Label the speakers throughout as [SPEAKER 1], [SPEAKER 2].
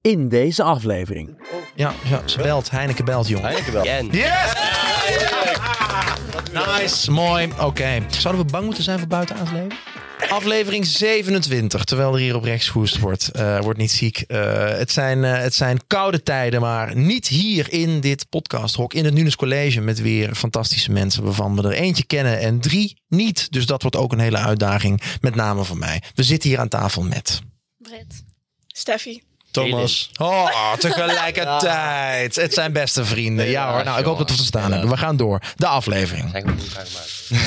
[SPEAKER 1] in deze aflevering.
[SPEAKER 2] Ja, ja, ze belt. Heineken belt, jongen.
[SPEAKER 3] Heineken wel.
[SPEAKER 4] En
[SPEAKER 2] Yes! Nice, mooi. Oké. Zouden we bang moeten zijn voor buitenaans leven? Aflevering 27, terwijl er hier op rechts gehoest wordt. Eh wordt niet ziek. Eh, het, zijn, eh, het zijn koude tijden, maar niet hier in dit podcasthok. In het Nunes College met weer fantastische mensen waarvan we er eentje kennen en drie niet. Dus dat wordt ook een hele uitdaging, met name voor mij. We zitten hier aan tafel met...
[SPEAKER 5] Brit.
[SPEAKER 6] Steffi.
[SPEAKER 3] Thomas.
[SPEAKER 2] Oh, tegelijkertijd. Het zijn beste vrienden. Ja hoor, nou ik hoop dat we het verstaan hebben. We gaan door. De aflevering.
[SPEAKER 4] zijn we niet gaan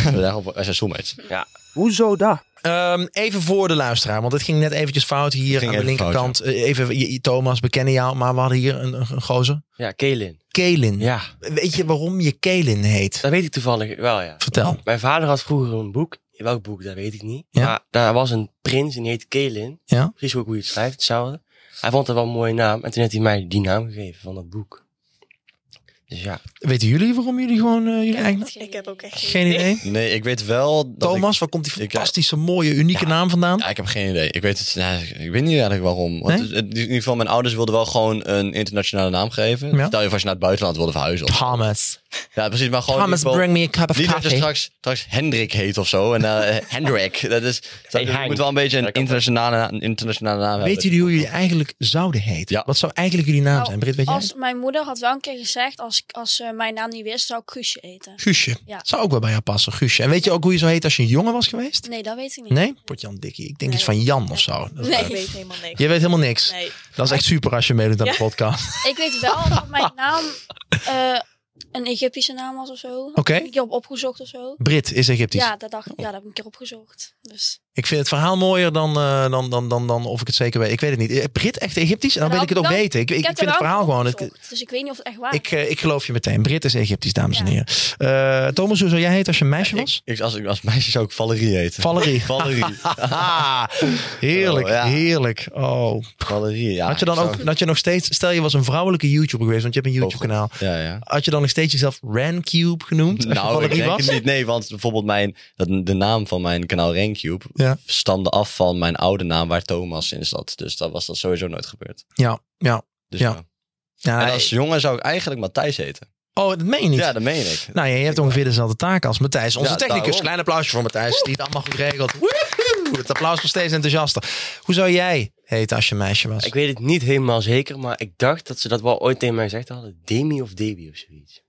[SPEAKER 4] maken.
[SPEAKER 3] Daarom wij zijn soulmates.
[SPEAKER 4] Ja,
[SPEAKER 1] Hoezo dat?
[SPEAKER 2] Ehm, even voor de luisteraar, want het ging net eventjes fout hier
[SPEAKER 3] ging
[SPEAKER 2] aan de
[SPEAKER 3] even fout,
[SPEAKER 2] linkerkant. Eh, Even, je- Thomas, we kennen jou, maar we hadden hier een, een, een gozer.
[SPEAKER 4] ja Kaelin.
[SPEAKER 2] Kelin.
[SPEAKER 4] Ja,
[SPEAKER 2] Weet je waarom je Kelin heet?
[SPEAKER 4] dat weet ik toevallig wel, ja.
[SPEAKER 2] Vertel.
[SPEAKER 4] Mijn vader had vroeger een boek. Welk boek, dat weet ik niet.
[SPEAKER 2] Ja.
[SPEAKER 4] Maar daar was een prins en die heette Kaelin.
[SPEAKER 2] Ja.
[SPEAKER 4] Precies ook hoe je het schrijft, hetzelfde. Hij vond dat wel een mooie naam. En toen heeft hij mij die naam gegeven van dat boek. Dus ja.
[SPEAKER 2] Weten jullie waarom jullie gewoon eh, jullie eigen...
[SPEAKER 6] Ik heb ook echt
[SPEAKER 2] Geen idee.
[SPEAKER 3] Nee, ik weet wel dat
[SPEAKER 2] Thomas,
[SPEAKER 3] ik-
[SPEAKER 2] waar komt die
[SPEAKER 3] ik- eh,
[SPEAKER 2] fantastische, mooie, unieke naam vandaan?
[SPEAKER 3] Ja, ik heb geen idee. Ik weet het. nou, ik weet niet eigenlijk waarom. Want
[SPEAKER 2] Nee?
[SPEAKER 3] het- in ieder geval, mijn ouders wilden wel gewoon een internationale naam geven.
[SPEAKER 2] Ja.
[SPEAKER 3] Stel je voor als je naar het buitenland wilde verhuizen. of-
[SPEAKER 2] Thomas.
[SPEAKER 3] Ja, precies. Maar gewoon. in
[SPEAKER 2] Thomas,
[SPEAKER 3] ieder geval-
[SPEAKER 2] bring me a cup of
[SPEAKER 3] Niet dat je
[SPEAKER 2] coffee.
[SPEAKER 3] straks, straks Hendrik heet of zo. En eh Hendrik. Dat is. Dat je
[SPEAKER 4] Hein.
[SPEAKER 3] moet wel een beetje een
[SPEAKER 4] Dat kan
[SPEAKER 3] internationale, na- een internationale naam
[SPEAKER 2] Weten
[SPEAKER 3] hebben.
[SPEAKER 2] jullie hoe jullie eigenlijk zouden heten?
[SPEAKER 3] Ja.
[SPEAKER 2] Wat zou eigenlijk jullie naam
[SPEAKER 5] Nou,
[SPEAKER 2] zijn? Britt, weet jij?
[SPEAKER 5] Als, mijn moeder had wel een keer gezegd, als, ik- als ze mijn naam niet wist, zou ik Guusje eten.
[SPEAKER 2] Guusje.
[SPEAKER 5] Ja.
[SPEAKER 2] Zou ook wel bij jou passen, Guusje. En weet je ook hoe je zou heten als je een jongen was geweest?
[SPEAKER 5] Nee, dat weet ik niet.
[SPEAKER 2] Nee? Potjan Dikkie. Ik denk iets van Jan of zo. Dat is-
[SPEAKER 5] Nee.
[SPEAKER 6] Ik weet helemaal niks.
[SPEAKER 2] Je weet helemaal niks.
[SPEAKER 6] Nee.
[SPEAKER 2] Dat is echt super als je meedoet aan de
[SPEAKER 6] Ja.
[SPEAKER 2] podcast.
[SPEAKER 5] Ik weet wel dat mijn naam eh, een Egyptische naam was of zo. Oké.
[SPEAKER 2] Oké.
[SPEAKER 5] Ik heb opgezocht of zo.
[SPEAKER 2] Brit is Egyptisch.
[SPEAKER 5] Ja, dat dacht ik. Ja, dat heb ik een keer opgezocht. Dus
[SPEAKER 2] Ik vind het verhaal mooier dan, eh, dan, dan, dan, dan of ik het zeker weet. Ik weet het niet. Eh, Brit echt Egyptisch? En dan
[SPEAKER 5] Ja,
[SPEAKER 2] wil ik het ook
[SPEAKER 5] dan-
[SPEAKER 2] weten. Ik, ik,
[SPEAKER 5] heb
[SPEAKER 2] vind het
[SPEAKER 5] er wel
[SPEAKER 2] verhaal gewoon... het-
[SPEAKER 5] opgezocht, dus ik weet niet of het echt waar is.
[SPEAKER 2] ik, eh, ik geloof je meteen. Brit is Egyptisch, dames en
[SPEAKER 5] Ja.
[SPEAKER 2] heren. Eh, Thomas, hoe zou jij heten als je een meisje was?
[SPEAKER 3] Ik, als, als meisje zou ik Valerie heten.
[SPEAKER 2] Valerie.
[SPEAKER 3] Valerie.
[SPEAKER 2] Haha. heerlijk,
[SPEAKER 3] Oh, ja.
[SPEAKER 2] heerlijk. Oh.
[SPEAKER 3] Valerie, ja.
[SPEAKER 2] Had je dan
[SPEAKER 3] ik zou-
[SPEAKER 2] ook, had je nog steeds, stel je was een vrouwelijke YouTuber geweest, want je hebt een
[SPEAKER 3] Oh,
[SPEAKER 2] YouTube kanaal.
[SPEAKER 3] Ja, ja.
[SPEAKER 2] Had je dan nog steeds jezelf Rancube genoemd? als je
[SPEAKER 3] Nou, ik
[SPEAKER 2] Valerie
[SPEAKER 3] denk
[SPEAKER 2] was?
[SPEAKER 3] het niet. Nee, want bijvoorbeeld mijn, dat, de naam van mijn kanaal Rancube
[SPEAKER 2] Ja.
[SPEAKER 3] stamde af van mijn oude naam waar Thomas in zat. Dus dat was dat sowieso nooit gebeurd.
[SPEAKER 2] Ja, ja.
[SPEAKER 3] Dus
[SPEAKER 2] Ja.
[SPEAKER 3] ja.
[SPEAKER 2] ja
[SPEAKER 3] En als jongen zou ik eigenlijk Matthijs heten.
[SPEAKER 2] Oh, dat meen je niet.
[SPEAKER 3] Ja, dat meen ik.
[SPEAKER 2] Nou ja, je hebt ongeveer dezelfde taak als Matthijs. Onze
[SPEAKER 3] Ja,
[SPEAKER 2] technicus.
[SPEAKER 3] daarom.
[SPEAKER 2] Klein applausje voor Matthijs. Die het allemaal goed regelt. Woehoe! Het applaus wordt steeds enthousiaster. Hoe zou jij heten als je een meisje was?
[SPEAKER 4] Ik weet het niet helemaal zeker, maar ik dacht dat ze dat wel ooit tegen mij gezegd hadden. Demi of Debi of zoiets.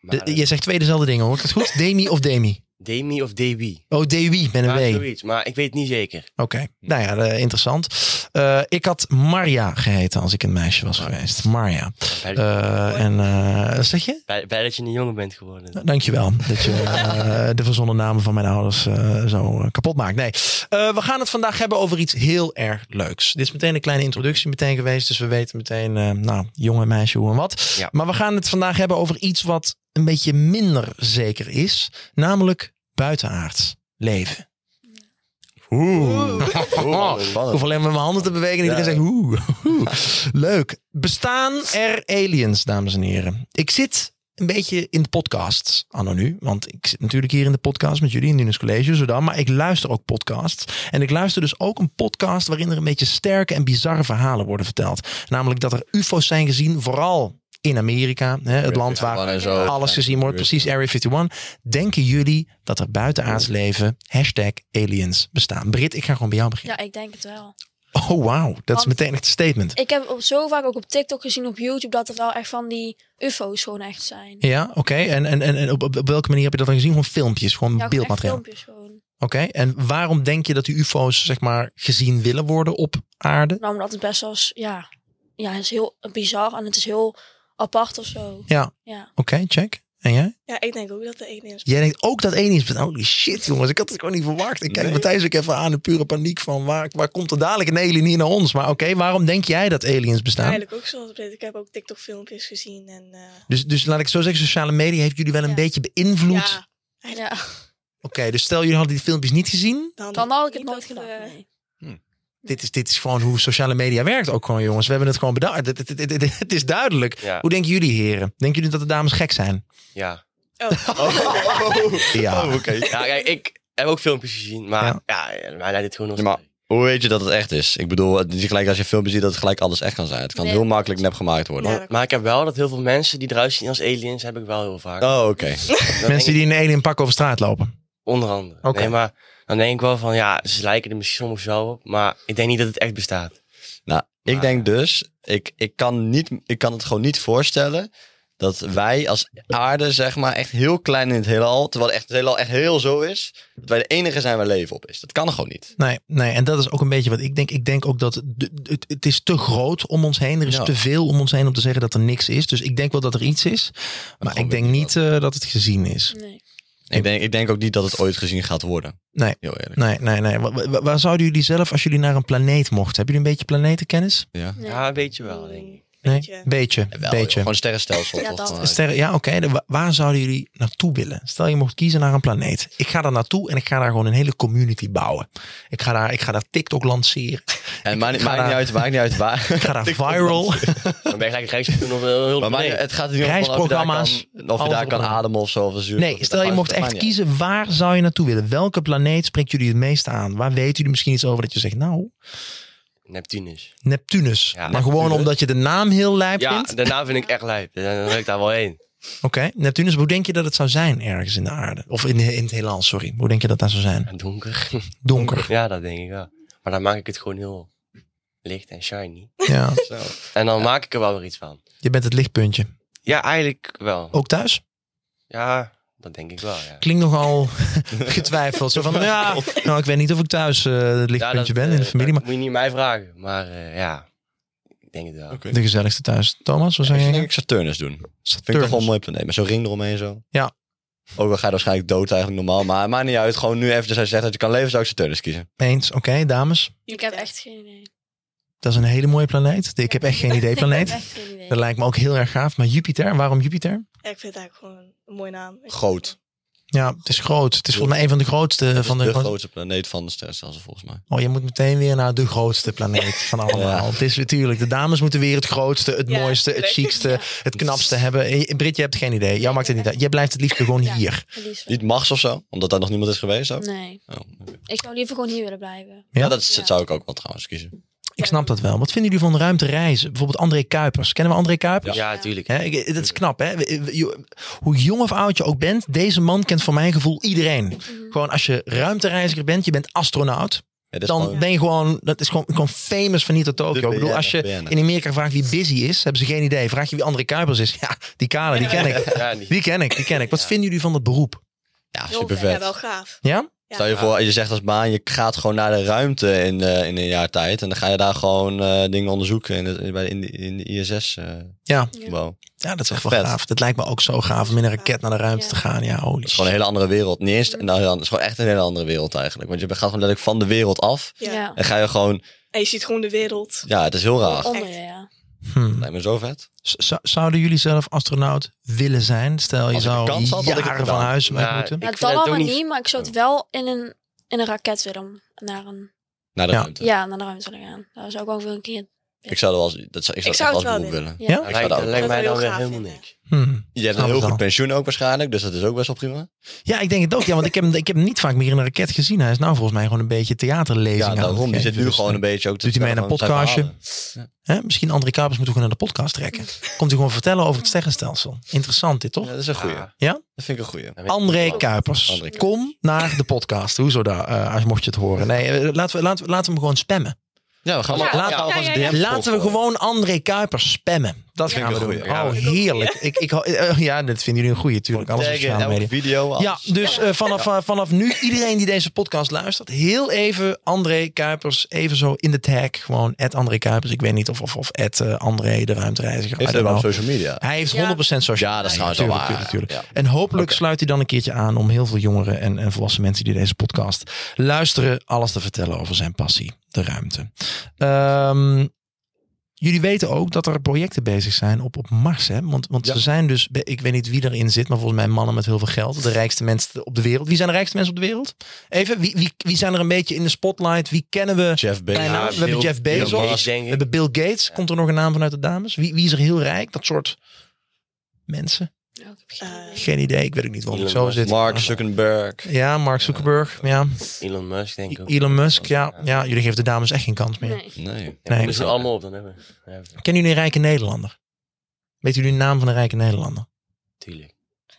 [SPEAKER 4] Maar, eh,
[SPEAKER 2] De-
[SPEAKER 3] Nou,
[SPEAKER 2] je zegt twee dezelfde dingen, hoor ik het goed? Demi of Demi?
[SPEAKER 4] Demi of Debi.
[SPEAKER 2] Oh, Demi met
[SPEAKER 4] Maar
[SPEAKER 2] een W. Oké,
[SPEAKER 4] zoiets, maar ik weet het niet zeker.
[SPEAKER 2] nou ja, eh, interessant. Eh, ik had Marja geheten als ik een meisje was geweest. Marja.
[SPEAKER 4] Bij,
[SPEAKER 2] Eh, en eh, wat zeg je?
[SPEAKER 4] bij, bij dat je een jongen bent geworden.
[SPEAKER 2] Dankjewel dat je eh, de verzonnen namen van mijn ouders eh, zo eh, kapot maakt. Nee, Eh, we gaan het vandaag hebben over iets heel erg leuks. Dit is meteen een kleine introductie meteen geweest. Dus we weten meteen, eh, nou, jongen, meisje, hoe en wat.
[SPEAKER 4] Ja.
[SPEAKER 2] Maar we gaan het vandaag hebben over iets wat een beetje minder zeker is. Namelijk buitenaards leven. Oeh.
[SPEAKER 3] Oeh, spannend.
[SPEAKER 2] Ik hoef alleen maar mijn handen te bewegen en iedereen
[SPEAKER 3] Ja.
[SPEAKER 2] zegt oeh, oeh. Leuk. Bestaan er aliens, dames en heren? Ik zit een beetje in de podcast, anno nu. Want ik zit natuurlijk hier in de podcast met jullie in Nunes College, zodan. Maar ik luister ook podcasts. En ik luister dus ook een podcast waarin er een beetje sterke en bizarre verhalen worden verteld. Namelijk dat er ufo's zijn gezien, vooral in Amerika. Hè, het land waar
[SPEAKER 3] en zo.
[SPEAKER 2] alles gezien wordt, precies Area 51. Denken jullie dat er buitenaards leven, hashtag aliens, bestaan? Brit, ik ga gewoon bij jou beginnen.
[SPEAKER 5] Ja, ik denk het wel.
[SPEAKER 2] Oh, wauw. Dat is
[SPEAKER 5] Want-
[SPEAKER 2] meteen echt een statement.
[SPEAKER 5] Ik heb op, zo vaak ook op TikTok gezien, op YouTube, dat er wel echt van die UFO's gewoon echt zijn.
[SPEAKER 2] Ja, oké. En, en, en, en op, op, op welke manier heb je dat dan gezien? Gewoon filmpjes, gewoon
[SPEAKER 5] Ja, gewoon echt
[SPEAKER 2] beeldmateriaal.
[SPEAKER 5] filmpjes gewoon.
[SPEAKER 2] Oké. En waarom denk je dat die UFO's, zeg maar, gezien willen worden op aarde?
[SPEAKER 5] Nou, omdat het best wel, eens- ja, ja, het is heel bizar en het is heel apart of zo.
[SPEAKER 2] Ja, oké,
[SPEAKER 5] Ja.
[SPEAKER 2] check. En jij?
[SPEAKER 6] Ja, ik denk ook dat de ene is.
[SPEAKER 2] Jij denkt ook dat aliens... bestaan. Holy shit, jongens. Ik had het gewoon niet verwacht. Ik kijk Matthijs ook even aan in pure paniek van... Waar, waar komt er dadelijk een alien hier naar ons? Maar oké, waarom denk jij dat aliens bestaan?
[SPEAKER 6] Eigenlijk ook zoals Brit. Ik heb ook TikTok filmpjes gezien en eh,
[SPEAKER 2] Dus, dus laat ik het zo zeggen, sociale media heeft jullie wel een
[SPEAKER 5] Ja.
[SPEAKER 2] beetje beïnvloed.
[SPEAKER 6] ja,
[SPEAKER 5] Ja,
[SPEAKER 2] Oké, dus stel jullie hadden die filmpjes niet gezien.
[SPEAKER 5] dan had ik het
[SPEAKER 6] niet
[SPEAKER 5] nooit
[SPEAKER 6] dat,
[SPEAKER 5] gedaan.
[SPEAKER 6] eh,
[SPEAKER 5] Nee.
[SPEAKER 2] Dit is, dit is gewoon hoe sociale media werkt ook gewoon, jongens. We hebben het gewoon bedacht. Het, het, het, het- het is duidelijk.
[SPEAKER 4] Ja.
[SPEAKER 2] Hoe denken jullie, heren? Denken jullie dat de dames gek zijn?
[SPEAKER 4] Ja.
[SPEAKER 6] Oh,
[SPEAKER 2] Ja.
[SPEAKER 3] Oh, oké.
[SPEAKER 4] Ja, kijk, ik heb ook filmpjes gezien, maar
[SPEAKER 2] Ja.
[SPEAKER 4] ja, ja, mij lijkt het gewoon nog
[SPEAKER 3] Ja, maar Hoe weet je dat het echt is? Ik bedoel, het is niet gelijk als je een filmpje ziet dat het gelijk alles echt kan zijn. Het kan
[SPEAKER 5] Nee.
[SPEAKER 3] heel makkelijk nep gemaakt worden.
[SPEAKER 2] nou.
[SPEAKER 6] Ja, dat-
[SPEAKER 4] Maar ik heb wel dat heel veel mensen die eruit zien als aliens, heb ik wel heel vaak.
[SPEAKER 3] Oh, oké.
[SPEAKER 4] Dan denk
[SPEAKER 2] Mensen
[SPEAKER 4] ik-
[SPEAKER 2] die in een alien pak over straat lopen.
[SPEAKER 4] Onder andere.
[SPEAKER 2] Oké.
[SPEAKER 4] Nee, maar dan denk ik wel van, ja, ze lijken er misschien soms wel op, maar ik denk niet dat het echt bestaat.
[SPEAKER 3] Nou, ik
[SPEAKER 4] Maar-
[SPEAKER 3] denk dus, ik, ik, kan niet, ik kan het gewoon niet voorstellen dat wij als aarde, zeg maar, echt heel klein in het heelal, terwijl echt, het heelal echt heel zo is, dat wij de enige zijn waar leven op is. Dat kan gewoon niet.
[SPEAKER 2] Nee, nee, en dat is ook een beetje wat ik denk. Ik denk ook dat de- het, het is te groot om ons heen. Er is
[SPEAKER 3] Ja.
[SPEAKER 2] te veel om ons heen om te zeggen dat er niks is. Dus ik denk wel dat er iets is. Maar
[SPEAKER 3] gewoon
[SPEAKER 2] ik denk
[SPEAKER 3] weet ik
[SPEAKER 2] niet eh, dat het gezien is.
[SPEAKER 5] Nee.
[SPEAKER 3] Ik denk, ik denk ook niet dat het ooit gezien gaat worden.
[SPEAKER 2] Nee.
[SPEAKER 3] Heel eerlijk.
[SPEAKER 2] Nee, nee, nee. Wa- wa- Waar, zouden jullie zelf, als jullie naar een planeet mochten, hebben jullie een beetje planetenkennis?
[SPEAKER 3] Ja.
[SPEAKER 5] nee.
[SPEAKER 4] Ja, weet je wel, denk ik.
[SPEAKER 2] Nee,
[SPEAKER 6] Beetje.
[SPEAKER 2] beetje.
[SPEAKER 3] Jawel, joh.
[SPEAKER 2] beetje.
[SPEAKER 3] Gewoon een sterrenstelsel.
[SPEAKER 5] Ja,
[SPEAKER 3] toch?
[SPEAKER 5] dat.
[SPEAKER 3] Gewoon-
[SPEAKER 2] Sterren, ja, oké. De- wa- Waar zouden jullie naartoe willen? Stel je mocht kiezen naar een planeet. Ik ga daar naartoe en ik ga daar gewoon een hele community bouwen. Ik ga daar, ik ga daar TikTok lanceren.
[SPEAKER 3] En maakt niet
[SPEAKER 2] ga
[SPEAKER 3] maakt niet
[SPEAKER 2] daar-
[SPEAKER 3] uit, maakt niet uit waar.
[SPEAKER 2] Ik ga daar viral.
[SPEAKER 4] Dan ben je gelijk rechts doen op heel heel de
[SPEAKER 3] Maar maakt niet-
[SPEAKER 4] planeet.
[SPEAKER 3] het gaat er niet om of je daar kan,
[SPEAKER 2] Reisprogramma's,
[SPEAKER 3] of je
[SPEAKER 2] alles
[SPEAKER 3] daar
[SPEAKER 2] op
[SPEAKER 3] kan
[SPEAKER 2] en aan.
[SPEAKER 3] ademen of zo. Of zuur,
[SPEAKER 2] Nee, stel je mocht echt kiezen. Waar zou je naartoe willen? Welke planeet spreekt jullie het meest aan? Waar weten jullie misschien iets over dat je zegt, nou,
[SPEAKER 4] Neptunus.
[SPEAKER 2] Neptunus.
[SPEAKER 4] Ja,
[SPEAKER 2] maar
[SPEAKER 4] Neptunus.
[SPEAKER 2] gewoon omdat je de naam heel lijp
[SPEAKER 4] Ja,
[SPEAKER 2] vindt.
[SPEAKER 4] daarna vind ik echt lijp. Dan wil ik daar wel heen.
[SPEAKER 2] Oké, Neptunus. Hoe denk je dat het zou zijn ergens in de aarde? Of in, in het heelal, sorry. Hoe denk je dat dat zou zijn?
[SPEAKER 4] Ja, Donker.
[SPEAKER 2] Donker.
[SPEAKER 4] Ja, dat denk ik wel. Maar dan maak ik het gewoon heel licht en shiny.
[SPEAKER 2] Ja,
[SPEAKER 4] En dan maak ik er wel weer iets van.
[SPEAKER 2] je bent het lichtpuntje.
[SPEAKER 4] Ja, eigenlijk wel.
[SPEAKER 2] Ook thuis?
[SPEAKER 4] Ja, dat denk ik wel, ja.
[SPEAKER 2] Oh. Klinkt nogal getwijfeld. Zo van, ja, nou, ik weet niet of ik thuis eh, het
[SPEAKER 4] Ja,
[SPEAKER 2] lichtpuntje
[SPEAKER 4] dat,
[SPEAKER 2] ben in de
[SPEAKER 4] eh,
[SPEAKER 2] familie.
[SPEAKER 4] dat
[SPEAKER 2] Maar
[SPEAKER 4] moet je niet mij vragen. Maar eh, ja, ik denk het wel.
[SPEAKER 2] de gezelligste thuis. Thomas, wat
[SPEAKER 3] Ik
[SPEAKER 2] zeg
[SPEAKER 3] zou, denk
[SPEAKER 2] je?
[SPEAKER 3] ik Saturnus doen. Vind ik toch wel een mooi planeet. Met zo'n ring eromheen zo.
[SPEAKER 2] Ja.
[SPEAKER 3] Ook al ga je waarschijnlijk dood eigenlijk normaal. Maar het maakt niet uit. Gewoon nu even als je zegt dat je kan leven, zou ik Saturnus kiezen.
[SPEAKER 2] Eens, oké, dames.
[SPEAKER 5] Ik heb echt geen idee.
[SPEAKER 2] Dat is een hele mooie planeet. Ik heb echt geen idee
[SPEAKER 5] Ik heb
[SPEAKER 2] planeet.
[SPEAKER 5] echt geen idee.
[SPEAKER 2] Dat lijkt me ook heel erg gaaf. Maar Jupiter, waarom Jupiter?
[SPEAKER 6] Ja, ik vind het eigenlijk gewoon een mooie naam. Ik-
[SPEAKER 3] Groot.
[SPEAKER 2] Ja, het is groot. Het is volgens mij een van de grootste.
[SPEAKER 3] Dat
[SPEAKER 2] Eh, Van de,
[SPEAKER 3] is de
[SPEAKER 2] grootste-
[SPEAKER 3] grootste planeet van de sterrenstelsel volgens mij.
[SPEAKER 2] Oh, je moet meteen weer naar de grootste planeet van allemaal.
[SPEAKER 3] Ja.
[SPEAKER 2] Het is natuurlijk, de dames moeten weer het grootste, het
[SPEAKER 6] Ja,
[SPEAKER 2] mooiste, het
[SPEAKER 6] tuurlijk.
[SPEAKER 2] chicste, het knapste hebben. Eh, Brit, je hebt geen idee. Jou maakt het niet uit. Jij blijft het liefst gewoon
[SPEAKER 5] Ja.
[SPEAKER 2] hier.
[SPEAKER 5] Verlies wel.
[SPEAKER 3] Niet Mars of zo, omdat daar nog niemand is geweest ook.
[SPEAKER 5] Nee.
[SPEAKER 3] Oh, oké.
[SPEAKER 5] Ik zou liever gewoon hier willen blijven.
[SPEAKER 2] Ja?
[SPEAKER 3] Ja, dat, is-
[SPEAKER 5] Ja.
[SPEAKER 3] zou ik ook wel trouwens kiezen.
[SPEAKER 2] Ik snap dat wel. Wat vinden jullie van ruimtereizen? Bijvoorbeeld André Kuipers. Kennen we André Kuipers?
[SPEAKER 4] Ja, tuurlijk.
[SPEAKER 2] Hè, ik- dat is knap, hè? We- we- je- Hoe jong of oud je ook bent, deze man kent voor mijn gevoel iedereen.
[SPEAKER 5] Mhm.
[SPEAKER 2] Gewoon als je ruimtereiziger bent, je bent astronaut,
[SPEAKER 3] Ja, dit is
[SPEAKER 2] dan
[SPEAKER 3] gewoon-
[SPEAKER 2] ben je gewoon, dat is gewoon, gewoon famous van niet tot Tokio.
[SPEAKER 3] De
[SPEAKER 2] Ik bedoel,
[SPEAKER 3] BN'er,
[SPEAKER 2] als je
[SPEAKER 3] BN'er.
[SPEAKER 2] in Amerika vraagt wie Busy is, hebben ze geen idee. Vraag je wie André Kuipers is, ja, die kale, die ken ik.
[SPEAKER 4] Ja, die-
[SPEAKER 2] Die ken ik, die ken ik. Wat vinden jullie van dat beroep?
[SPEAKER 3] ja,
[SPEAKER 5] Heel
[SPEAKER 3] super
[SPEAKER 5] vet.
[SPEAKER 6] Ja, wel
[SPEAKER 3] vet.
[SPEAKER 6] gaaf.
[SPEAKER 2] Ja?
[SPEAKER 6] Ja.
[SPEAKER 3] Stel je voor, je zegt als baan, je gaat gewoon naar de ruimte in, eh, in een jaar tijd. En dan ga je daar gewoon eh, dingen onderzoeken in de, bij- in de, in de ISS. eh
[SPEAKER 2] Ja.
[SPEAKER 5] Ja.
[SPEAKER 3] gebouw.
[SPEAKER 2] Ja, dat is echt wel
[SPEAKER 3] Vet.
[SPEAKER 2] gaaf. Dat lijkt me ook zo gaaf om in een raket naar de ruimte
[SPEAKER 5] Ja.
[SPEAKER 2] te gaan. Ja, holy
[SPEAKER 3] Het is gewoon een hele andere wereld. Niet eens,
[SPEAKER 6] Mm.
[SPEAKER 3] nou, ja, het is gewoon echt een hele andere wereld eigenlijk. Want je gaat gewoon letterlijk van de wereld af.
[SPEAKER 5] Ja.
[SPEAKER 6] Ja.
[SPEAKER 3] En ga je gewoon,
[SPEAKER 6] En je ziet gewoon de wereld.
[SPEAKER 3] ja, het is heel raar.
[SPEAKER 5] Onder,
[SPEAKER 6] Echt.
[SPEAKER 5] ja. Nou,
[SPEAKER 2] shit. Hmm.
[SPEAKER 3] Lijkt me zo vet.
[SPEAKER 2] Z- zou- Zouden jullie zelf astronaut willen zijn? Stel, je
[SPEAKER 3] Als ik de
[SPEAKER 2] zou
[SPEAKER 3] kans had, had ik het
[SPEAKER 2] jaren van
[SPEAKER 3] gedaan.
[SPEAKER 2] huis weg
[SPEAKER 4] Maar
[SPEAKER 2] moeten.
[SPEAKER 4] ik
[SPEAKER 5] Ja,
[SPEAKER 4] vind
[SPEAKER 5] dat
[SPEAKER 4] het ook
[SPEAKER 5] allemaal
[SPEAKER 4] niet-
[SPEAKER 5] niet, maar ik zou het wel in een, in een raket willen. om Naar een,
[SPEAKER 3] Naar de
[SPEAKER 2] Ja.
[SPEAKER 3] ruimte.
[SPEAKER 5] ja, naar de ruimte willen gaan. Daar zou ik ook wel een keer...
[SPEAKER 3] Ik zou er wel als, dat zou, ik zou
[SPEAKER 6] Ik
[SPEAKER 3] het
[SPEAKER 6] zou
[SPEAKER 3] echt als
[SPEAKER 6] het wel
[SPEAKER 3] beroep willen.
[SPEAKER 5] Ja.
[SPEAKER 4] Dat
[SPEAKER 3] Ik zou
[SPEAKER 4] lijkt,
[SPEAKER 3] dat ook-
[SPEAKER 4] lijkt
[SPEAKER 6] Dat
[SPEAKER 4] mij
[SPEAKER 6] zou
[SPEAKER 4] dan
[SPEAKER 6] ik
[SPEAKER 4] weer
[SPEAKER 6] heel
[SPEAKER 4] helemaal
[SPEAKER 6] gaaf
[SPEAKER 4] niks.
[SPEAKER 2] Hmm.
[SPEAKER 3] Je
[SPEAKER 2] Snap
[SPEAKER 3] hebt een
[SPEAKER 2] het
[SPEAKER 3] heel goed
[SPEAKER 2] wel.
[SPEAKER 3] pensioen ook waarschijnlijk, dus dat is ook best wel prima.
[SPEAKER 2] Ja, ik denk het ook. Ja, want ik heb, hem- ik heb hem niet vaak meer in een raket gezien. Hij is nou volgens mij gewoon een beetje theaterlezing.
[SPEAKER 3] Ja,
[SPEAKER 2] aan het
[SPEAKER 3] daarom. Die
[SPEAKER 2] geven.
[SPEAKER 3] zit nu
[SPEAKER 2] Dus,
[SPEAKER 3] gewoon
[SPEAKER 2] eh,
[SPEAKER 3] een beetje ook te
[SPEAKER 2] doet hij mee
[SPEAKER 3] vertellen
[SPEAKER 2] naar
[SPEAKER 3] van zijn
[SPEAKER 2] podcastje? Hè? Misschien André Kapers moeten we gewoon naar de podcast trekken. Komt hij gewoon vertellen over het sterrenstelsel. Interessant dit,
[SPEAKER 3] verhalen.
[SPEAKER 2] toch?
[SPEAKER 3] Ja, dat is een goeie.
[SPEAKER 4] Ja.
[SPEAKER 2] Ja?
[SPEAKER 3] Dat vind ik een goeie.
[SPEAKER 2] André Kuipers,
[SPEAKER 3] André Kuipers.
[SPEAKER 2] kom naar de podcast. Hoezo daar, eh, als mocht je het horen. Nee, eh, laten we, laten, we- laten we hem gewoon spammen.
[SPEAKER 3] Ja, we gaan
[SPEAKER 6] Ja,
[SPEAKER 3] maar
[SPEAKER 2] laten-
[SPEAKER 3] laten we
[SPEAKER 6] ja,
[SPEAKER 3] gewoon
[SPEAKER 6] ja, ja.
[SPEAKER 3] DM's
[SPEAKER 2] Laten we
[SPEAKER 3] volgen.
[SPEAKER 2] gewoon André Kuipers spammen. Dat
[SPEAKER 3] Vind
[SPEAKER 2] gaan we
[SPEAKER 3] ik een
[SPEAKER 2] doen.
[SPEAKER 3] goeie.
[SPEAKER 2] Oh,
[SPEAKER 6] Ja.
[SPEAKER 2] heerlijk. Ik, ik, ho- eh, ja, dit vinden jullie een goeie, natuurlijk. Alles op
[SPEAKER 3] Taggen,
[SPEAKER 2] sociale
[SPEAKER 3] elke
[SPEAKER 2] media.
[SPEAKER 3] video.
[SPEAKER 2] Ja,
[SPEAKER 3] alles.
[SPEAKER 2] dus eh, vanaf, eh, vanaf nu, iedereen die deze podcast luistert, heel even André Kuipers, even zo in de tag, gewoon at André Kuipers. Ik weet niet of, of, of at eh, André de ruimtereiziger. I
[SPEAKER 3] Heeft hij
[SPEAKER 2] don't
[SPEAKER 3] wel op
[SPEAKER 2] know.
[SPEAKER 3] social media?
[SPEAKER 2] Hij heeft
[SPEAKER 5] Ja.
[SPEAKER 2] 100% social.
[SPEAKER 3] Ja, dat is trouwens wel
[SPEAKER 2] natuurlijk,
[SPEAKER 3] waar.
[SPEAKER 2] natuurlijk,
[SPEAKER 3] Ja.
[SPEAKER 2] En hopelijk sluit hij dan een keertje aan om heel veel jongeren en, en volwassen mensen die deze podcast luisteren, alles te vertellen over zijn passie, de ruimte. Ehm, jullie weten ook dat er projecten bezig zijn op, op Mars. Hè? Want, want
[SPEAKER 3] Ja.
[SPEAKER 2] ze zijn dus, be- ik weet niet wie erin zit, maar volgens mij mannen met heel veel geld. De rijkste mensen op de wereld. Wie zijn de rijkste mensen op de wereld? Even, wie, wie, wie zijn er een beetje in de spotlight? Wie kennen we?
[SPEAKER 3] Jeff
[SPEAKER 2] Bijna.
[SPEAKER 3] Bezos.
[SPEAKER 2] nou, we hebben Jeff Bezos.
[SPEAKER 4] denk
[SPEAKER 2] We
[SPEAKER 4] ik.
[SPEAKER 2] hebben Bill Gates. Komt er nog een naam vanuit de dames? Wie, wie is er heel rijk? Dat soort mensen.
[SPEAKER 5] Ja, ik heb geen
[SPEAKER 6] Eh,
[SPEAKER 5] idee.
[SPEAKER 2] Geen idee. Ik weet ook niet waarom ik
[SPEAKER 4] Elon
[SPEAKER 2] zo
[SPEAKER 4] Musk.
[SPEAKER 2] zit.
[SPEAKER 3] Mark Zuckerberg.
[SPEAKER 2] Ja, Mark Zuckerberg. Ja.
[SPEAKER 4] Elon Musk, denk ik. ook.
[SPEAKER 2] Elon Musk. Ja. ja, jullie geven de dames echt geen kans meer.
[SPEAKER 5] Nee.
[SPEAKER 3] Nee.
[SPEAKER 4] Ja,
[SPEAKER 2] Nee.
[SPEAKER 4] we zijn allemaal op, dan hebben we. Ja,
[SPEAKER 2] Kennen jullie een rijke Nederlander? Weet jullie de naam van een rijke Nederlander?
[SPEAKER 4] tuurlijk.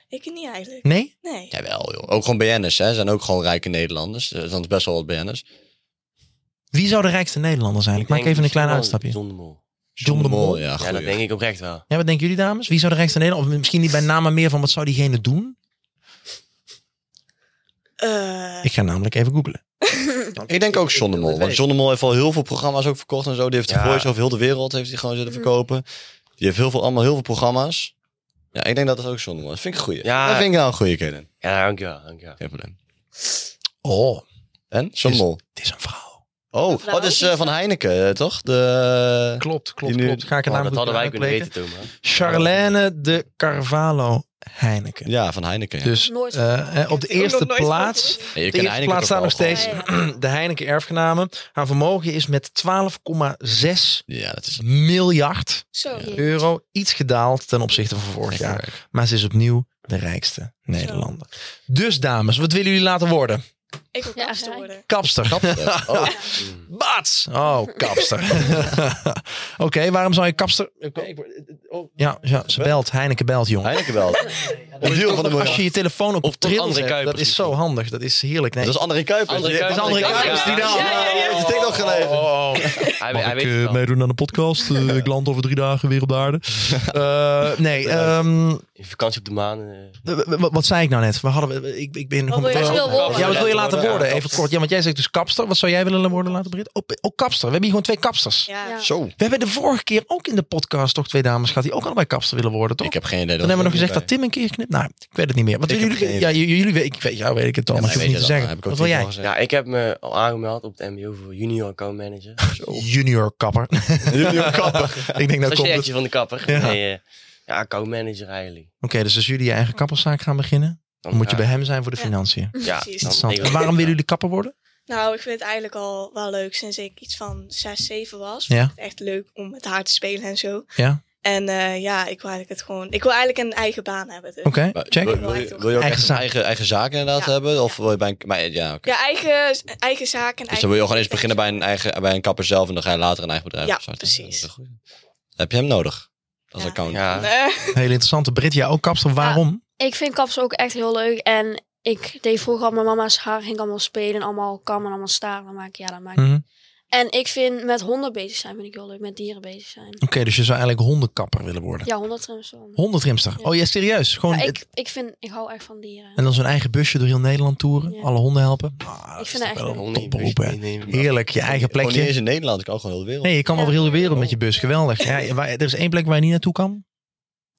[SPEAKER 6] Ik niet eigenlijk.
[SPEAKER 2] Nee?
[SPEAKER 6] Nee.
[SPEAKER 3] Jawel, joh. Ook gewoon BN'ers, hè. Zijn ook gewoon rijke Nederlanders. Eh, Er zijn best wel wat BN'ers.
[SPEAKER 2] Wie zou de rijkste Nederlander zijn? Ik,
[SPEAKER 4] denk
[SPEAKER 2] maak even een
[SPEAKER 4] misschien
[SPEAKER 2] klein
[SPEAKER 4] wel
[SPEAKER 2] uitstapje.
[SPEAKER 4] John de Mol.
[SPEAKER 2] John de Mol.
[SPEAKER 3] Ja,
[SPEAKER 4] Ja, dat denk ik oprecht wel.
[SPEAKER 2] Ja, wat denken jullie dames? Wie zou de rijkste Nederlander... Of misschien niet bij naam, maar meer van wat zou diegene doen?
[SPEAKER 6] Eh,
[SPEAKER 2] Ik ga namelijk even googlen.
[SPEAKER 3] Ik denk ook John de Mol. Want John de Mol heeft al heel veel programma's ook verkocht en zo. Die heeft de
[SPEAKER 4] Ja.
[SPEAKER 3] Voice over heel de wereld heeft hij gewoon zitten verkopen. Die heeft heel veel, allemaal heel veel programma's. Ja, ik denk dat dat ook John de Mol is. Vind ik een goeie.
[SPEAKER 4] Ja.
[SPEAKER 3] Dat vind ik nou een goeie, Kenen.
[SPEAKER 4] Ja, dankjewel, dankjewel.
[SPEAKER 3] Geen probleem.
[SPEAKER 2] Oh,
[SPEAKER 3] En? John de
[SPEAKER 2] Is-
[SPEAKER 3] Mol.
[SPEAKER 2] het is een vrouw.
[SPEAKER 3] Oh, oh,
[SPEAKER 6] vrouw
[SPEAKER 3] dat is eh,
[SPEAKER 6] die-
[SPEAKER 3] van Heineken, eh, toch? De...
[SPEAKER 2] Klopt, klopt,
[SPEAKER 3] Die nu-
[SPEAKER 2] klopt. Ga ik het
[SPEAKER 4] Maar
[SPEAKER 2] naam
[SPEAKER 4] Oh, dat hadden
[SPEAKER 2] goed
[SPEAKER 4] wij kunnen weten,
[SPEAKER 2] weten.
[SPEAKER 4] Thomas.
[SPEAKER 2] Charlène de Carvalho Heineken.
[SPEAKER 3] Ja, van Heineken. Ja.
[SPEAKER 2] Dus
[SPEAKER 5] Nooit.
[SPEAKER 2] eh, eh, op de
[SPEAKER 6] Ik heb ook
[SPEAKER 2] eerste
[SPEAKER 6] nog nooit van
[SPEAKER 2] plaats...
[SPEAKER 6] gehoord.
[SPEAKER 3] Ja, je
[SPEAKER 2] De
[SPEAKER 3] kent
[SPEAKER 2] eerste plaats
[SPEAKER 3] toch
[SPEAKER 2] staan nog
[SPEAKER 3] wel
[SPEAKER 2] steeds
[SPEAKER 3] gewoon?
[SPEAKER 2] de Heineken erfgenamen. Haar vermogen is met 12,6
[SPEAKER 3] Ja, dat is...
[SPEAKER 2] miljard
[SPEAKER 6] Zo.
[SPEAKER 5] Ja.
[SPEAKER 2] euro iets gedaald ten opzichte van vorig
[SPEAKER 3] Ja.
[SPEAKER 2] jaar. Maar ze is opnieuw de rijkste Nederlander. Dus dames, wat willen jullie laten worden?
[SPEAKER 6] Ik wil
[SPEAKER 5] Ja,
[SPEAKER 6] kapster
[SPEAKER 5] rijk.
[SPEAKER 6] worden.
[SPEAKER 2] Kapster. Ah.
[SPEAKER 3] Oh,
[SPEAKER 4] Mm,
[SPEAKER 2] Baats. Oh, kapster. Oké, waarom zou je kapster... Ja, ja, ze belt. Heineken belt, jongen.
[SPEAKER 3] Heineken wel. Een deal van de
[SPEAKER 2] Als je
[SPEAKER 3] miljard.
[SPEAKER 2] je telefoon ook op trill
[SPEAKER 4] André
[SPEAKER 2] zet, dat
[SPEAKER 4] Kuipers
[SPEAKER 2] is zo handig. Dat is heerlijk. Nee,
[SPEAKER 3] Dat is André Kuipers.
[SPEAKER 4] André
[SPEAKER 3] Die-
[SPEAKER 4] Kuipers.
[SPEAKER 2] Dat is André Kuipers, die
[SPEAKER 3] Ja,
[SPEAKER 2] dan.
[SPEAKER 3] ja, ja, ja. Heeft die TikTok geleverd.
[SPEAKER 2] Oh, oh.
[SPEAKER 4] Hij,
[SPEAKER 2] Mag
[SPEAKER 4] hij
[SPEAKER 2] ik
[SPEAKER 4] weet
[SPEAKER 2] eh,
[SPEAKER 4] het wel.
[SPEAKER 2] meedoen aan de podcast? Eh, ik land over drie dagen weer op de aarde. Eh, nee, ehm,
[SPEAKER 4] In vakantie op de maan. eh,
[SPEAKER 2] w- w- wat, zei ik nou net? We hadden, we- ik, ik ben
[SPEAKER 6] Wat wil je
[SPEAKER 2] meteen-
[SPEAKER 5] wil worden?
[SPEAKER 2] Ja, wat wil je laten
[SPEAKER 4] Ja,
[SPEAKER 2] worden? Even
[SPEAKER 4] kapster.
[SPEAKER 2] kort. Ja, want jij zegt dus kapster. Wat zou jij willen worden laten, Brit? Ook ook kapster. We hebben hier gewoon twee kapsters.
[SPEAKER 6] Ja.
[SPEAKER 5] Ja.
[SPEAKER 3] Zo.
[SPEAKER 2] We hebben de vorige keer ook in de podcast toch twee dames gehad die ook allebei kapster willen worden, toch?
[SPEAKER 3] Ik heb geen idee.
[SPEAKER 2] Dan hebben we nog gezegd dat Tim een keer knipt. Nou, ik weet het niet meer. Wat
[SPEAKER 3] Ik
[SPEAKER 2] willen
[SPEAKER 3] heb
[SPEAKER 2] jullie?
[SPEAKER 3] geen
[SPEAKER 2] Ja, j- jullie weten. Ik weet, jou weet ik het al, maar je hoeft niet te zeggen. Wat wil jij?
[SPEAKER 4] Ja, ik heb me al aangemeld op het MBO voor junior account manager.
[SPEAKER 2] Junior kapper.
[SPEAKER 3] Jullie kappen.
[SPEAKER 2] ik denk dat
[SPEAKER 4] Dat
[SPEAKER 2] nou komt. het.
[SPEAKER 4] is van de kapper.
[SPEAKER 2] Ja.
[SPEAKER 4] Nee, eh, ja, account manager eigenlijk.
[SPEAKER 2] Oké, dus als jullie je eigen kapperszaak gaan beginnen,
[SPEAKER 4] Dan,
[SPEAKER 2] dan moet je
[SPEAKER 4] ja,
[SPEAKER 2] bij hem zijn voor de
[SPEAKER 6] Ja.
[SPEAKER 2] financiën.
[SPEAKER 4] Ja,
[SPEAKER 6] Precies.
[SPEAKER 4] dan-
[SPEAKER 2] Interessant. En waarom willen jullie kapper worden?
[SPEAKER 6] Nou, ik vind het eigenlijk al wel leuk sinds ik iets van 6, 7 was.
[SPEAKER 2] Ja.
[SPEAKER 6] Vond ik het echt leuk om met haar te spelen en zo.
[SPEAKER 2] Ja.
[SPEAKER 6] En eh, ja, ik wil eigenlijk het gewoon. Ik wil eigenlijk een eigen baan hebben. dus.
[SPEAKER 2] Oké, check.
[SPEAKER 3] Wil, wil je, wil je
[SPEAKER 2] Eigen
[SPEAKER 3] ook echt een
[SPEAKER 2] zaak.
[SPEAKER 3] eigen, eigen zaak inderdaad
[SPEAKER 6] Ja.
[SPEAKER 3] hebben? Of wil je bij een... Maar, ja, oké.
[SPEAKER 6] Ja, eigen, eigen zaak en
[SPEAKER 3] Dus
[SPEAKER 6] eigen.
[SPEAKER 3] dan wil je gewoon eens beginnen bij een, eigen, bij een kapper zelf... en dan ga je later een eigen bedrijf
[SPEAKER 6] Ja,
[SPEAKER 3] starten.
[SPEAKER 6] precies.
[SPEAKER 3] Dat is een goeie. Heb je hem nodig? Als
[SPEAKER 6] Ja.
[SPEAKER 3] account.
[SPEAKER 4] Ja.
[SPEAKER 6] Eh,
[SPEAKER 2] Hele interessante. Brit, jij ook kapster. Waarom?
[SPEAKER 5] Ik vind kapsel ook echt heel leuk. En ik deed vroeger al mijn mama's haar. Ging ik allemaal spelen. Allemaal kammen, allemaal staren maken. Ja, dat maakt
[SPEAKER 2] Mhm.
[SPEAKER 5] En ik vind met honden bezig zijn vind ik heel leuk. Met dieren bezig zijn.
[SPEAKER 2] Oké, dus je zou eigenlijk hondenkapper willen worden.
[SPEAKER 5] Ja, honden trouwens wel.
[SPEAKER 2] Hondentrimster.
[SPEAKER 5] Ja.
[SPEAKER 2] Oh, ja, serieus. Gewoon
[SPEAKER 5] Ja,
[SPEAKER 2] het-
[SPEAKER 5] ik, ik, vind, ik hou echt van dieren.
[SPEAKER 2] En dan zo'n eigen busje door heel Nederland toeren.
[SPEAKER 5] Ja.
[SPEAKER 2] Alle honden helpen. Ah, dat
[SPEAKER 5] Ik
[SPEAKER 2] is
[SPEAKER 5] vind
[SPEAKER 2] toch
[SPEAKER 5] het
[SPEAKER 2] wel
[SPEAKER 5] echt
[SPEAKER 2] een
[SPEAKER 4] dan
[SPEAKER 2] topberoep, hè?
[SPEAKER 4] meenemen.
[SPEAKER 2] Heerlijk, je eigen
[SPEAKER 3] Gewoon niet
[SPEAKER 2] plekje.
[SPEAKER 3] eens in Nederland. Ik kan ook gewoon heel de wereld.
[SPEAKER 2] Nee, je kan
[SPEAKER 5] Ja.
[SPEAKER 2] over heel de wereld met je bus. Geweldig. Ja, waar- er is één plek waar je niet naartoe kan.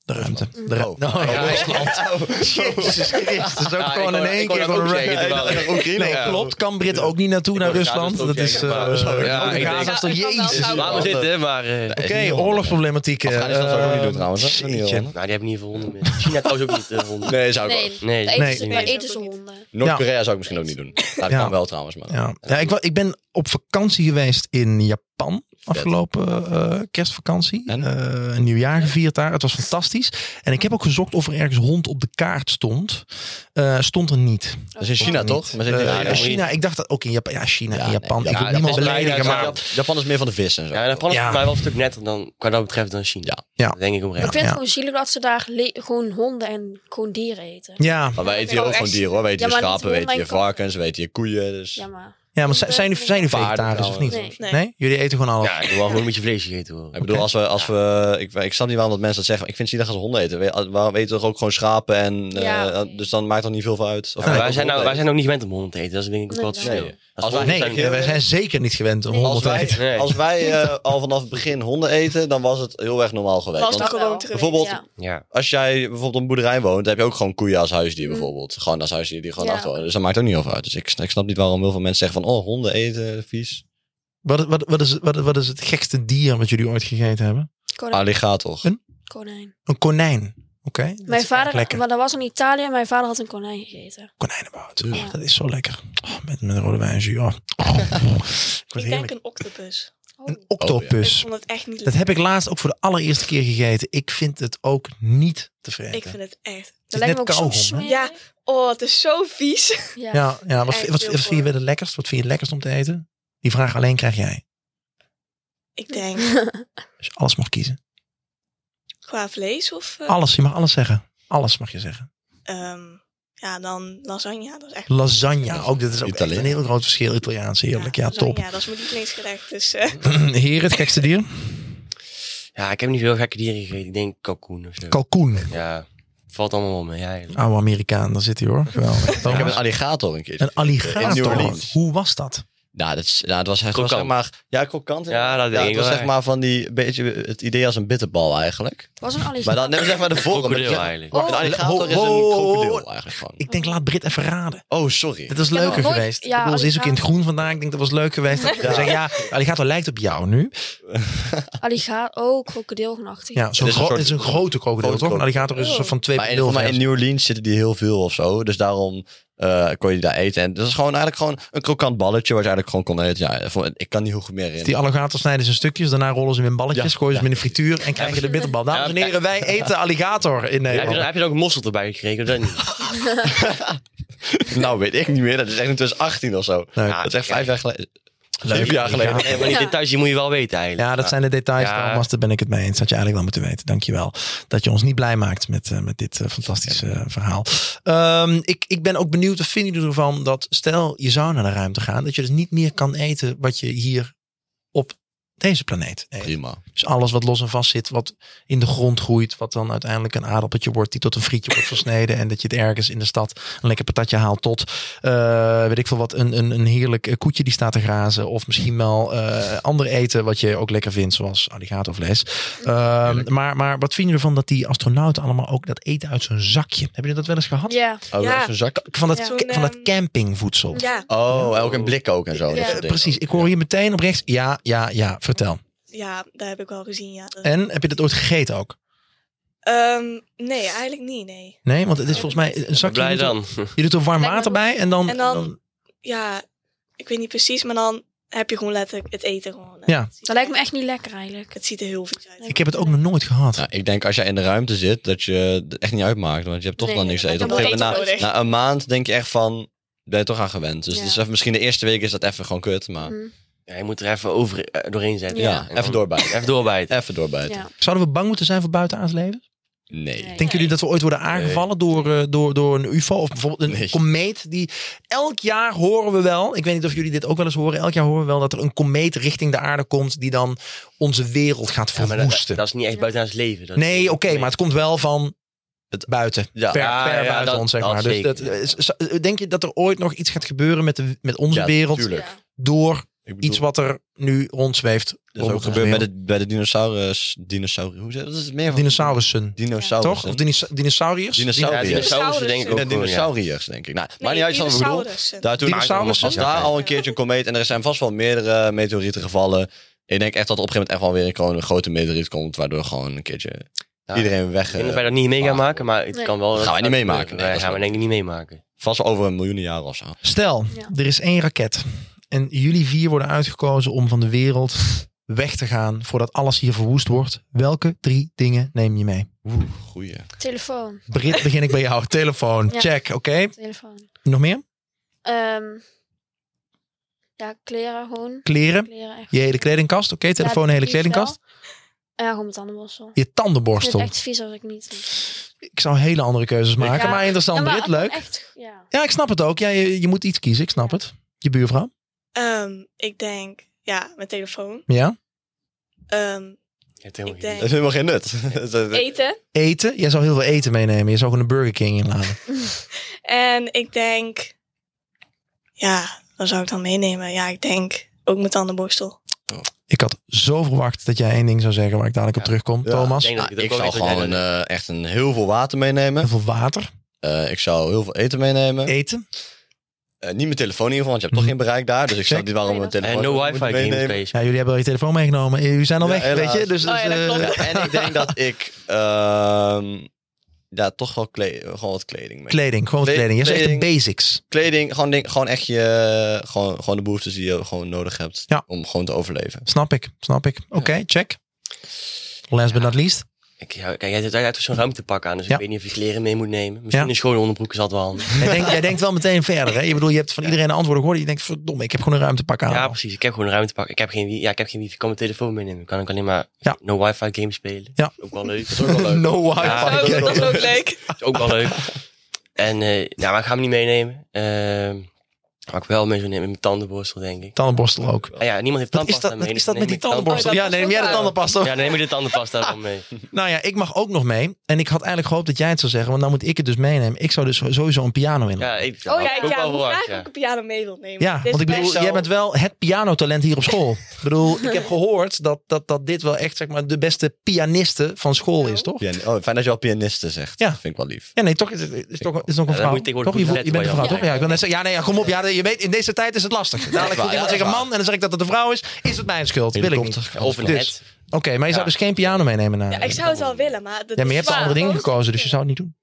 [SPEAKER 2] De ruimte. De ru-
[SPEAKER 3] Oh.
[SPEAKER 2] Nou, ja.
[SPEAKER 3] Jezus
[SPEAKER 2] Het is ook
[SPEAKER 4] Ja, ik
[SPEAKER 2] gewoon
[SPEAKER 4] wou-
[SPEAKER 2] in
[SPEAKER 4] ik
[SPEAKER 2] één
[SPEAKER 4] wou
[SPEAKER 2] keer
[SPEAKER 4] dat
[SPEAKER 2] gewoon
[SPEAKER 4] ook
[SPEAKER 2] een
[SPEAKER 4] zeggen,
[SPEAKER 2] rug-
[SPEAKER 4] terwijl-
[SPEAKER 2] Nee,
[SPEAKER 4] Ja.
[SPEAKER 2] klopt. Kan Brit ook niet naartoe naar
[SPEAKER 3] Ja,
[SPEAKER 2] Rusland?
[SPEAKER 3] dat is
[SPEAKER 2] Dat is.
[SPEAKER 3] dus ook
[SPEAKER 2] eh,
[SPEAKER 3] tegen-
[SPEAKER 2] ja,
[SPEAKER 4] ik
[SPEAKER 2] ook in
[SPEAKER 4] denk-
[SPEAKER 2] Gaza is toch
[SPEAKER 6] dat kan wel.
[SPEAKER 2] jezus.
[SPEAKER 4] Laat maar zitten, maar... eh,
[SPEAKER 2] Oké, oorlogsproblematiek. eh,
[SPEAKER 3] Afghanistan zou ik ook niet doen
[SPEAKER 2] eh,
[SPEAKER 3] trouwens, hè? Dat is ook niet heel
[SPEAKER 2] shit.
[SPEAKER 3] handig.
[SPEAKER 4] Nou, die hebben niet veel honden meer. China trouwens ook niet eh, honden.
[SPEAKER 3] Nee, zou ik
[SPEAKER 5] Nee,
[SPEAKER 3] ook.
[SPEAKER 4] Nee.
[SPEAKER 5] daar
[SPEAKER 2] Nee.
[SPEAKER 5] eten ze, daar
[SPEAKER 6] Nee.
[SPEAKER 5] eten ze honden.
[SPEAKER 3] Noord-Korea zou ik misschien ook niet doen. Nou, dat
[SPEAKER 2] Ja.
[SPEAKER 3] kan wel trouwens. Maar
[SPEAKER 2] Ja. Ja, ik, wa- ik ben op vakantie geweest in Japan. Afgelopen eh, kerstvakantie.
[SPEAKER 3] En?
[SPEAKER 2] Eh, een nieuwjaar gevierd daar. Het was fantastisch. En ik heb ook gezocht of er ergens hond op de kaart stond. Eh, stond er niet.
[SPEAKER 3] Dat is in China
[SPEAKER 2] Niet.
[SPEAKER 3] toch? Maar zit
[SPEAKER 2] Eh,
[SPEAKER 3] die-
[SPEAKER 2] ja,
[SPEAKER 3] Ja, dat moet je-
[SPEAKER 2] China. Ik dacht dat ook in Japan. Ja, China
[SPEAKER 3] Ja,
[SPEAKER 2] en
[SPEAKER 3] nee,
[SPEAKER 2] Japan.
[SPEAKER 3] ja,
[SPEAKER 2] ik wil
[SPEAKER 3] ja,
[SPEAKER 2] niemand
[SPEAKER 3] dat is
[SPEAKER 2] beledigen,
[SPEAKER 3] belangrijk,
[SPEAKER 2] maar...
[SPEAKER 3] ja. Japan is meer van de vis en zo.
[SPEAKER 4] Ja, Japan is
[SPEAKER 2] Ja.
[SPEAKER 4] voor mij wel een stuk netter dan, qua dat betreft dan China.
[SPEAKER 3] Ja.
[SPEAKER 2] Ja.
[SPEAKER 4] Dat denk ik
[SPEAKER 5] Ik
[SPEAKER 4] oprecht.
[SPEAKER 5] vind
[SPEAKER 2] Ja.
[SPEAKER 5] het gewoon zielig dat ze daar le- gewoon honden en gewoon dieren eten.
[SPEAKER 2] Ja,
[SPEAKER 3] Maar wij eten hier ook gewoon dieren hoor. Wij eten
[SPEAKER 5] Ja,
[SPEAKER 3] hier
[SPEAKER 5] maar niet
[SPEAKER 3] schapen, wij eten hier
[SPEAKER 5] online
[SPEAKER 3] varkens, wij eten hier koeien. Dus...
[SPEAKER 5] Ja, maar...
[SPEAKER 2] ja maar zijn, zijn jullie- zijn jullie
[SPEAKER 3] Paarden
[SPEAKER 2] vegetarisch of niet?
[SPEAKER 5] Nee.
[SPEAKER 2] Nee. Jullie eten gewoon alles?
[SPEAKER 4] Ja, ik wil wel gewoon een beetje vlees gegeten worden.
[SPEAKER 3] Ik bedoel, als we, als we, ik, ik snap niet waarom dat mensen dat zeggen. maar Ik vind het zielig als ze honden eten. We- Waarom eten we toch ook gewoon schapen? En, eh,
[SPEAKER 5] Ja.
[SPEAKER 3] Dus dan maakt het niet veel van uit. Of
[SPEAKER 4] Ja,
[SPEAKER 3] wij
[SPEAKER 4] wij,
[SPEAKER 3] ook
[SPEAKER 4] zijn nou, wij
[SPEAKER 3] honden
[SPEAKER 4] zijn ook niet gewend om honden te eten. Dat is denk ik ook
[SPEAKER 5] Nee,
[SPEAKER 4] wel het
[SPEAKER 5] nee.
[SPEAKER 4] verschil.
[SPEAKER 3] Nee.
[SPEAKER 4] Als
[SPEAKER 3] wij-
[SPEAKER 4] honden
[SPEAKER 2] Nee,
[SPEAKER 4] zijn- nou-
[SPEAKER 3] heel
[SPEAKER 2] wij zijn zeker niet gewend om
[SPEAKER 5] Nee.
[SPEAKER 2] honderd
[SPEAKER 3] Als
[SPEAKER 2] te
[SPEAKER 3] wij,
[SPEAKER 2] eten.
[SPEAKER 4] Nee.
[SPEAKER 3] als wij eh, al vanaf het begin honden eten, dan was het heel erg normaal geweest.
[SPEAKER 6] was
[SPEAKER 3] Want
[SPEAKER 6] dat gewoon terug.
[SPEAKER 3] bijvoorbeeld,
[SPEAKER 5] Ja.
[SPEAKER 4] Ja.
[SPEAKER 3] als jij bijvoorbeeld op een boerderij woont, dan heb je ook gewoon koeien als huisdier
[SPEAKER 5] Mm.
[SPEAKER 3] bijvoorbeeld. Gewoon als huisdier die gewoon
[SPEAKER 5] Ja.
[SPEAKER 3] achter. Dus dat maakt ook niet heel veel uit. Dus ik, ik snap niet waarom heel veel mensen zeggen van, oh, honden eten, vies.
[SPEAKER 5] Oh,
[SPEAKER 2] Wat, wat, wat, is, wat, wat is het gekste dier wat jullie ooit gegeten hebben?
[SPEAKER 5] Konijn.
[SPEAKER 3] Alligator.
[SPEAKER 2] Oh.
[SPEAKER 5] konijn.
[SPEAKER 2] Een konijn. Oké. dat is
[SPEAKER 5] Mijn
[SPEAKER 2] echt
[SPEAKER 5] vader,
[SPEAKER 2] lekker.
[SPEAKER 5] maar dat was in Italië en mijn vader had een konijn gegeten.
[SPEAKER 2] konijnenbout.
[SPEAKER 5] Ja.
[SPEAKER 2] Oh, dat is zo lekker. Oh, met, met rode wijnjus. Oh. Oh. Ik word
[SPEAKER 6] Ik denk Oh,
[SPEAKER 2] heerlijk.
[SPEAKER 6] een octopus.
[SPEAKER 5] Oh,
[SPEAKER 2] Een octopus.
[SPEAKER 6] Ik vond het echt niet
[SPEAKER 2] Dat
[SPEAKER 6] lekker.
[SPEAKER 2] heb ik laatst ook voor de allereerste keer gegeten. Ik vind het ook niet tevreden.
[SPEAKER 6] Ik vind het echt...
[SPEAKER 2] is
[SPEAKER 5] Dat lijkt
[SPEAKER 2] net
[SPEAKER 5] me ook zo
[SPEAKER 2] kauwgom, hè?
[SPEAKER 5] smerig.
[SPEAKER 6] Ja. Oh, het is zo vies.
[SPEAKER 5] Ja.
[SPEAKER 2] Ja, ja. Wat,
[SPEAKER 6] Echt
[SPEAKER 2] wat, wat
[SPEAKER 6] heel
[SPEAKER 2] vind je weer het lekkerst? Wat vind je het lekkerst om te eten? Die vraag alleen krijg jij.
[SPEAKER 6] Ik denk,
[SPEAKER 2] Als je alles mag kiezen.
[SPEAKER 6] qua vlees of... eh,
[SPEAKER 2] Alles, je mag alles zeggen. Alles mag je zeggen.
[SPEAKER 6] ehm, ja, dan lasagne. Dat is echt...
[SPEAKER 2] Lasagne, ook dat is ook echt
[SPEAKER 3] Italiaan.
[SPEAKER 2] een heel groot verschil. Italiaans, heerlijk. Ja,
[SPEAKER 6] lasagne,
[SPEAKER 2] top.
[SPEAKER 6] dat is mijn lievelingsgerecht. Dus eh,
[SPEAKER 3] Oh,
[SPEAKER 2] Heer, het gekste dier?
[SPEAKER 4] Ja, ik heb niet veel gekke dieren gegeten. Ik denk kalkoen of zo.
[SPEAKER 2] Kalkoen.
[SPEAKER 4] ja, valt allemaal wel mee
[SPEAKER 3] Ah,
[SPEAKER 4] eigenlijk.
[SPEAKER 2] Oude Amerikaan, daar zit hij hoor. Geweldig.
[SPEAKER 3] Ik heb
[SPEAKER 2] Thomas.
[SPEAKER 3] een alligator een keer.
[SPEAKER 2] Een
[SPEAKER 3] In New
[SPEAKER 2] alligator.
[SPEAKER 3] Orleans.
[SPEAKER 2] Hoe was dat?
[SPEAKER 3] Nou, dat, is, nou, het was echt wel, zeg
[SPEAKER 4] Krokant.
[SPEAKER 3] maar... Ja, krokant.
[SPEAKER 4] Ja, dat denk
[SPEAKER 3] het
[SPEAKER 4] ik
[SPEAKER 3] was
[SPEAKER 4] wel,
[SPEAKER 3] zeg maar van die... Beetje het idee als een bitterbal eigenlijk.
[SPEAKER 5] Was een alligator.
[SPEAKER 3] Maar dan neem zeg maar de vorm.
[SPEAKER 4] Krokodil
[SPEAKER 3] Ja,
[SPEAKER 4] eigenlijk.
[SPEAKER 5] Oh,
[SPEAKER 3] Een
[SPEAKER 2] Ho-
[SPEAKER 3] alligator is
[SPEAKER 2] ho-
[SPEAKER 3] een
[SPEAKER 2] ho-
[SPEAKER 3] krokodil eigenlijk gewoon.
[SPEAKER 2] Ik denk, laat Brit even raden.
[SPEAKER 3] Oh, sorry.
[SPEAKER 2] Dat is
[SPEAKER 5] heb
[SPEAKER 2] leuker
[SPEAKER 5] nog nooit-
[SPEAKER 2] geweest.
[SPEAKER 5] ja,
[SPEAKER 2] ik bedoel, ze is ook in het
[SPEAKER 5] alligator.
[SPEAKER 2] groen vandaag. Ik denk dat was leuk geweest. Dat ja. Zeggen, ja, de alligator lijkt op jou nu.
[SPEAKER 5] Alligator. Oh, krokodilgenachtig.
[SPEAKER 2] Ja, zo'n
[SPEAKER 3] Het is een
[SPEAKER 2] gro-
[SPEAKER 3] soort-
[SPEAKER 2] het is een grote krokodil,
[SPEAKER 3] grote
[SPEAKER 2] toch? Een
[SPEAKER 3] krokodil.
[SPEAKER 2] alligator
[SPEAKER 5] Oh.
[SPEAKER 2] is een soort van 2.0
[SPEAKER 3] Maar in, maar in
[SPEAKER 2] versie.
[SPEAKER 3] New Orleans zitten die heel veel of zo. Dus daarom eh, kon je die daar eten. En dat is gewoon eigenlijk gewoon een krokant balletje wat je eigenlijk gewoon kon eten. Ja, ik vond- ik kan niet heel goed meer in.
[SPEAKER 2] Die alligator snijden ze in stukjes, daarna rollen ze hem in balletjes,
[SPEAKER 3] Ja.
[SPEAKER 2] gooien ze hem in de frituur en krijgen de bitterbal. Dames en heren, wij eten alligator in
[SPEAKER 4] heb, je, dan-
[SPEAKER 2] Nederland.
[SPEAKER 4] heb je dan ook mossel erbij gekregen? Of dat niet?
[SPEAKER 3] Nou, weet ik niet meer. Dat is echt in 2018 of zo.
[SPEAKER 2] Nee.
[SPEAKER 3] dat is echt vijf jaar geleden.
[SPEAKER 2] Leuk.
[SPEAKER 3] Zeven jaar geleden.
[SPEAKER 4] Nee, maar die
[SPEAKER 5] Ja.
[SPEAKER 4] details die moet je wel weten eigenlijk.
[SPEAKER 2] Ja, dat zijn de details.
[SPEAKER 4] Ja.
[SPEAKER 2] Thomas, daar ben ik het mee eens. Dat je eigenlijk wel moeten weten. Dankjewel dat je ons niet blij maakt met, eh, met dit eh, fantastische eh, verhaal. Ehm, ik, ik ben ook benieuwd, wat vinden jullie ervan dat stel je zou naar de ruimte gaan, dat je dus niet meer kan eten wat je hier op deze planeet eet.
[SPEAKER 3] Prima.
[SPEAKER 2] Dus alles wat los en vast zit, wat in de grond groeit, wat dan uiteindelijk een aardappeltje wordt, die tot een frietje wordt versneden. En dat je het ergens in de stad een lekker patatje haalt tot, eh, weet ik veel wat, een, een, een heerlijk eh, koetje die staat te grazen. Of misschien wel eh, ander eten wat je ook lekker vindt, zoals alligatorvlees. Ehm, maar, maar wat vind je ervan dat die astronauten allemaal ook dat eten uit zo'n zakje? Hebben jullie dat wel eens gehad?
[SPEAKER 5] Ja.
[SPEAKER 3] Oh,
[SPEAKER 6] Ja.
[SPEAKER 3] dat is een zak.
[SPEAKER 2] Van, dat,
[SPEAKER 6] Ja.
[SPEAKER 2] ca- van dat
[SPEAKER 6] Zo'n, ehm,
[SPEAKER 2] campingvoedsel.
[SPEAKER 6] ja,
[SPEAKER 3] Oh, en ook een blik ook en zo. dat
[SPEAKER 5] Ja.
[SPEAKER 3] soort
[SPEAKER 2] Eh,
[SPEAKER 3] dingen.
[SPEAKER 2] precies, ik hoor hier meteen op rechts. Ja, ja, ja, vertel.
[SPEAKER 6] ja, dat heb ik wel gezien, ja. Dat-
[SPEAKER 2] En heb je dat ooit gegeten ook?
[SPEAKER 6] Ehm, nee, eigenlijk niet, nee.
[SPEAKER 2] Nee, want het is volgens mij een zakje.
[SPEAKER 4] Blij
[SPEAKER 2] moet-
[SPEAKER 4] dan.
[SPEAKER 2] Je doet er warm
[SPEAKER 5] Lijkt me
[SPEAKER 2] water
[SPEAKER 5] goed.
[SPEAKER 2] bij en dan,
[SPEAKER 6] En dan- Ja, ik weet niet precies, maar dan heb je gewoon letterlijk het eten gewoon.
[SPEAKER 2] Ja.
[SPEAKER 6] Het ziet-
[SPEAKER 5] Dat lijkt me echt niet lekker eigenlijk.
[SPEAKER 6] Het ziet er heel vies uit.
[SPEAKER 2] Ik heb het ook nog nooit gehad.
[SPEAKER 3] Nou, ik denk als jij in de ruimte zit, dat je het echt niet uitmaakt. Want je hebt toch
[SPEAKER 5] Nee,
[SPEAKER 3] dan niks te
[SPEAKER 5] dan
[SPEAKER 3] eten. Op een
[SPEAKER 5] wordt
[SPEAKER 3] gegeven
[SPEAKER 5] het
[SPEAKER 3] moment,
[SPEAKER 5] eten
[SPEAKER 3] na, na een maand denk je echt van, ben je toch aan gewend. Dus,
[SPEAKER 5] Ja.
[SPEAKER 3] het is even, misschien de eerste week is dat even gewoon kut.
[SPEAKER 2] Ah,
[SPEAKER 3] Maar
[SPEAKER 5] Mm.
[SPEAKER 4] Ja, je moet er even over, eh, doorheen zetten.
[SPEAKER 3] ja,
[SPEAKER 4] En dan-
[SPEAKER 3] even doorbijten.
[SPEAKER 4] Even doorbijten.
[SPEAKER 3] Even doorbijten.
[SPEAKER 5] Ja.
[SPEAKER 2] Zouden we bang moeten zijn voor buitenaards leven?
[SPEAKER 3] Nee.
[SPEAKER 5] Nee.
[SPEAKER 2] Denken jullie dat we ooit worden aangevallen door, eh, door, door een UFO of bijvoorbeeld een
[SPEAKER 3] Nee.
[SPEAKER 2] komeet? Die elk jaar horen we wel. Ik weet niet of jullie dit ook wel eens horen. Elk jaar horen we wel dat er een komeet richting de aarde komt die dan onze wereld gaat
[SPEAKER 4] Ja, maar dat,
[SPEAKER 2] verwoesten.
[SPEAKER 4] dat is niet echt buiten ons leven. Dat is-
[SPEAKER 2] nee, oké, maar het komt wel van het buiten.
[SPEAKER 3] Ja.
[SPEAKER 2] ver
[SPEAKER 4] Ah,
[SPEAKER 2] ver
[SPEAKER 4] ja,
[SPEAKER 2] buiten
[SPEAKER 4] dat-
[SPEAKER 2] ons, zeg
[SPEAKER 4] dat
[SPEAKER 2] maar. Dus
[SPEAKER 4] zeker.
[SPEAKER 2] dat, eh, is- is- denk je dat er ooit nog iets gaat gebeuren met, de, met onze
[SPEAKER 3] Ja,
[SPEAKER 2] wereld
[SPEAKER 3] tuurlijk.
[SPEAKER 5] Ja.
[SPEAKER 2] door
[SPEAKER 3] Ik bedoel,
[SPEAKER 2] iets wat er nu rondzweeft?
[SPEAKER 3] Dat is ook gebeurd met het, bij de dinosaurus. Dinosaurus. Hoe zeg dat? is het meer van?
[SPEAKER 2] Dinosaurussen.
[SPEAKER 3] Dinosaurus.
[SPEAKER 2] Toch? Of dinos- dinosauriërs?
[SPEAKER 4] Ja,
[SPEAKER 3] Dinosauriërs.
[SPEAKER 4] dinosaurussen denk ik ook
[SPEAKER 3] Nee,
[SPEAKER 4] gewoon, ja.
[SPEAKER 3] dinosauriërs, denk ik. Nou, maar niet
[SPEAKER 6] Nee,
[SPEAKER 3] uit, je snapt wat ik bedoel.
[SPEAKER 6] dinosaurussen.
[SPEAKER 3] Daartoe
[SPEAKER 2] Dinosaurus
[SPEAKER 3] als
[SPEAKER 2] is-
[SPEAKER 3] daar al een keertje een komeet en er zijn vast wel meerdere meteorieten gevallen. Ik denk echt dat er op een gegeven moment echt wel weer een, gewoon een grote meteoriet komt, waardoor gewoon een keertje
[SPEAKER 4] Ja.
[SPEAKER 3] iedereen weg.
[SPEAKER 4] Ik denk
[SPEAKER 3] eh,
[SPEAKER 4] dat wij dat niet mee gaan
[SPEAKER 3] Ah.
[SPEAKER 4] maken, maar het
[SPEAKER 5] Nee.
[SPEAKER 4] kan wel.
[SPEAKER 3] Gaan wij niet meemaken, nee,
[SPEAKER 4] Nee,
[SPEAKER 3] dat
[SPEAKER 4] gaan we
[SPEAKER 3] snap
[SPEAKER 4] denk ik niet meemaken.
[SPEAKER 3] Vast wel over een miljoen jaar of zo.
[SPEAKER 2] Stel,
[SPEAKER 5] Ja.
[SPEAKER 2] er is één raket. En jullie vier worden uitgekozen om van de wereld weg te gaan voordat alles hier verwoest wordt. Welke drie dingen neem je mee?
[SPEAKER 3] Oeh, goeie.
[SPEAKER 5] Telefoon.
[SPEAKER 2] Brit, begin ik bij jou. Telefoon,
[SPEAKER 5] Ja.
[SPEAKER 2] check, oké.
[SPEAKER 5] Telefoon.
[SPEAKER 2] Nog meer?
[SPEAKER 5] Ehm, ja, kleren gewoon.
[SPEAKER 2] Kleren,
[SPEAKER 5] Kleren echt.
[SPEAKER 2] je hele kledingkast, oké. Telefoon,
[SPEAKER 5] Ja,
[SPEAKER 2] hele
[SPEAKER 5] die
[SPEAKER 2] kledingkast.
[SPEAKER 5] wel. En ja, gewoon met tandenborstel.
[SPEAKER 2] Je
[SPEAKER 5] Ik vind
[SPEAKER 2] tandenborstel.
[SPEAKER 5] het echt vies als ik niet doe.
[SPEAKER 2] Ik zou hele andere keuzes maken,
[SPEAKER 5] Ja.
[SPEAKER 2] maar interessant.
[SPEAKER 5] Ja, maar
[SPEAKER 2] Brit, leuk.
[SPEAKER 5] Echt, ja.
[SPEAKER 2] Ja, ik snap het ook. Ja, je, je moet iets kiezen, ik snap het. Je buurvrouw?
[SPEAKER 6] Ehm, ik denk, ja, mijn telefoon.
[SPEAKER 2] Ja.
[SPEAKER 6] Ehm,
[SPEAKER 4] Je hebt helemaal
[SPEAKER 6] Ik
[SPEAKER 4] geen
[SPEAKER 6] denk-
[SPEAKER 3] Dat is helemaal geen nut.
[SPEAKER 6] eten.
[SPEAKER 2] Eten. Jij zou heel veel eten meenemen. Je zou gewoon een Burger King inladen.
[SPEAKER 6] En ik denk, ja, dan zou ik dan meenemen. Ja, ik denk ook mijn tandenborstel.
[SPEAKER 2] Ik had zo verwacht dat jij één ding zou zeggen waar ik dadelijk op terugkom.
[SPEAKER 3] Ja.
[SPEAKER 2] Thomas,
[SPEAKER 4] idee.
[SPEAKER 3] Nou,
[SPEAKER 4] dat
[SPEAKER 3] ik
[SPEAKER 4] ook
[SPEAKER 3] zou
[SPEAKER 4] weet dat jij
[SPEAKER 3] gewoon
[SPEAKER 4] dat-
[SPEAKER 3] eh, echt een heel veel water meenemen.
[SPEAKER 2] heel veel water,
[SPEAKER 3] Eh, ik zou heel veel eten meenemen.
[SPEAKER 2] eten.
[SPEAKER 3] Eh, niet mijn telefoon in ieder geval, want je hebt toch geen bereik daar. Dus ik snap
[SPEAKER 2] Mhm. Check.
[SPEAKER 3] niet waarom mijn telefoon
[SPEAKER 4] En Eh, no
[SPEAKER 3] moet
[SPEAKER 4] wifi game
[SPEAKER 3] meenemen.
[SPEAKER 4] space.
[SPEAKER 2] Ja, jullie hebben wel je telefoon meegenomen. Eh, Jullie zijn al
[SPEAKER 3] Ja,
[SPEAKER 2] weg, weet
[SPEAKER 3] helaas.
[SPEAKER 2] je. Dus,
[SPEAKER 6] Oh ja,
[SPEAKER 2] dus,
[SPEAKER 6] dat
[SPEAKER 2] eh,
[SPEAKER 6] klopt.
[SPEAKER 3] Ja, en ik denk dat ik ehm, ja, toch wel kle- gewoon wat kleding mee.
[SPEAKER 2] Kleding, gewoon wat
[SPEAKER 3] Kle-
[SPEAKER 2] kleding. Je zegt de
[SPEAKER 3] kleding.
[SPEAKER 2] basics.
[SPEAKER 3] kleding, gewoon, ding, gewoon echt je, gewoon, gewoon de behoeftes die je gewoon nodig hebt
[SPEAKER 2] Ja.
[SPEAKER 3] om gewoon te overleven.
[SPEAKER 2] Snap ik, snap ik. Oké, check. Last but not least.
[SPEAKER 4] Ik, ja, kijk, jij zit uit zo'n ruimtepak aan, dus
[SPEAKER 2] Ja.
[SPEAKER 4] ik weet niet of je kleren mee moet nemen. Misschien
[SPEAKER 2] Ja.
[SPEAKER 4] een schone onderbroek is altijd wel handig.
[SPEAKER 2] Jij denkt, jij denkt wel meteen verder. Hè? Je bedoel, je hebt van iedereen antwoorden gehoord. Je denkt, verdomme, ik heb gewoon een ruimtepak aan.
[SPEAKER 4] Ja, precies. Ik heb gewoon een ruimtepak. Ik heb geen, wi- ja, ik heb geen wifi. Ik kan mijn telefoon meenemen. Ik kan ook alleen maar
[SPEAKER 2] Ja.
[SPEAKER 4] no wifi games spelen.
[SPEAKER 2] Ja.
[SPEAKER 4] Ook wel leuk.
[SPEAKER 3] Dat is ook wel leuk.
[SPEAKER 2] No wifi.
[SPEAKER 4] Ja,
[SPEAKER 6] Oh,
[SPEAKER 4] oké.
[SPEAKER 6] dat is ook leuk.
[SPEAKER 4] Is ook wel leuk. En eh nou, maar ik ga hem niet meenemen. Ehm wat ik wel mee zou nemen, mijn tandenborstel, denk ik.
[SPEAKER 2] Tandenborstel ook.
[SPEAKER 4] Ah, ja, niemand heeft
[SPEAKER 2] Wat is
[SPEAKER 4] tandpasta
[SPEAKER 2] dat,
[SPEAKER 4] mee.
[SPEAKER 2] is
[SPEAKER 4] dus
[SPEAKER 2] dat
[SPEAKER 4] dan
[SPEAKER 2] met die
[SPEAKER 4] neem ik tand-
[SPEAKER 2] tandenborstel?
[SPEAKER 6] Oh,
[SPEAKER 2] Ja,
[SPEAKER 6] dat
[SPEAKER 2] neem jij de
[SPEAKER 6] was wel
[SPEAKER 2] tandenpasta?
[SPEAKER 4] Ja, dan neem je de tandpasta dan mee.
[SPEAKER 2] Nou ja, ik mag ook nog mee. En ik had eigenlijk gehoopt dat jij het zou zeggen, want dan moet ik het dus meenemen. Ik zou dus sowieso een piano in. Ja,
[SPEAKER 4] Ja, ik,
[SPEAKER 6] Oh ja,
[SPEAKER 4] ik ook
[SPEAKER 6] ja,
[SPEAKER 4] wel
[SPEAKER 6] moet
[SPEAKER 4] verwacht,
[SPEAKER 6] eigenlijk
[SPEAKER 4] ja.
[SPEAKER 6] ook een piano mee wil nemen. Dit
[SPEAKER 2] want ik
[SPEAKER 6] is
[SPEAKER 2] bedoel,
[SPEAKER 6] best-
[SPEAKER 2] jij bent wel het pianotalent hier op school. ik bedoel, ik heb gehoord dat, dat, dat dit wel echt zeg maar, de beste pianiste van school is, toch?
[SPEAKER 3] Pian- oh, fijn dat je al pianiste zegt.
[SPEAKER 2] Ja.
[SPEAKER 3] Vind ik wel lief.
[SPEAKER 2] Ja, nee, toch is, is, is toch, is nog een
[SPEAKER 4] Ja,
[SPEAKER 2] vrouw.
[SPEAKER 4] dat moet tegenwoordig
[SPEAKER 2] toch? Je,
[SPEAKER 4] goed
[SPEAKER 2] voelt- je
[SPEAKER 4] letten
[SPEAKER 2] bent een vrouw,
[SPEAKER 4] waar je
[SPEAKER 2] toch?
[SPEAKER 4] aan
[SPEAKER 2] Ja, ik wil net zeggen, ja, nee, ja, kom op. Ja, je weet, in deze tijd is het lastig. Dadelijk
[SPEAKER 3] waar,
[SPEAKER 2] voelt iemand
[SPEAKER 3] ja,
[SPEAKER 2] zich een
[SPEAKER 3] dat is
[SPEAKER 2] man en dan zeg ik dat het een vrouw is. Is het mijn schuld? Wil ik niet.
[SPEAKER 3] Helikopter.
[SPEAKER 4] Of een
[SPEAKER 2] Dus.
[SPEAKER 4] het.
[SPEAKER 2] Oké, maar je zou
[SPEAKER 4] Ja.
[SPEAKER 2] dus geen piano meenemen naar.
[SPEAKER 6] Ja, ik
[SPEAKER 2] Ja,
[SPEAKER 6] zou het wel willen, maar... Dat
[SPEAKER 2] maar je
[SPEAKER 6] is
[SPEAKER 2] hebt al
[SPEAKER 6] zwaar.
[SPEAKER 2] andere dingen
[SPEAKER 6] Oh,
[SPEAKER 2] gekozen, dus je zou het niet doen.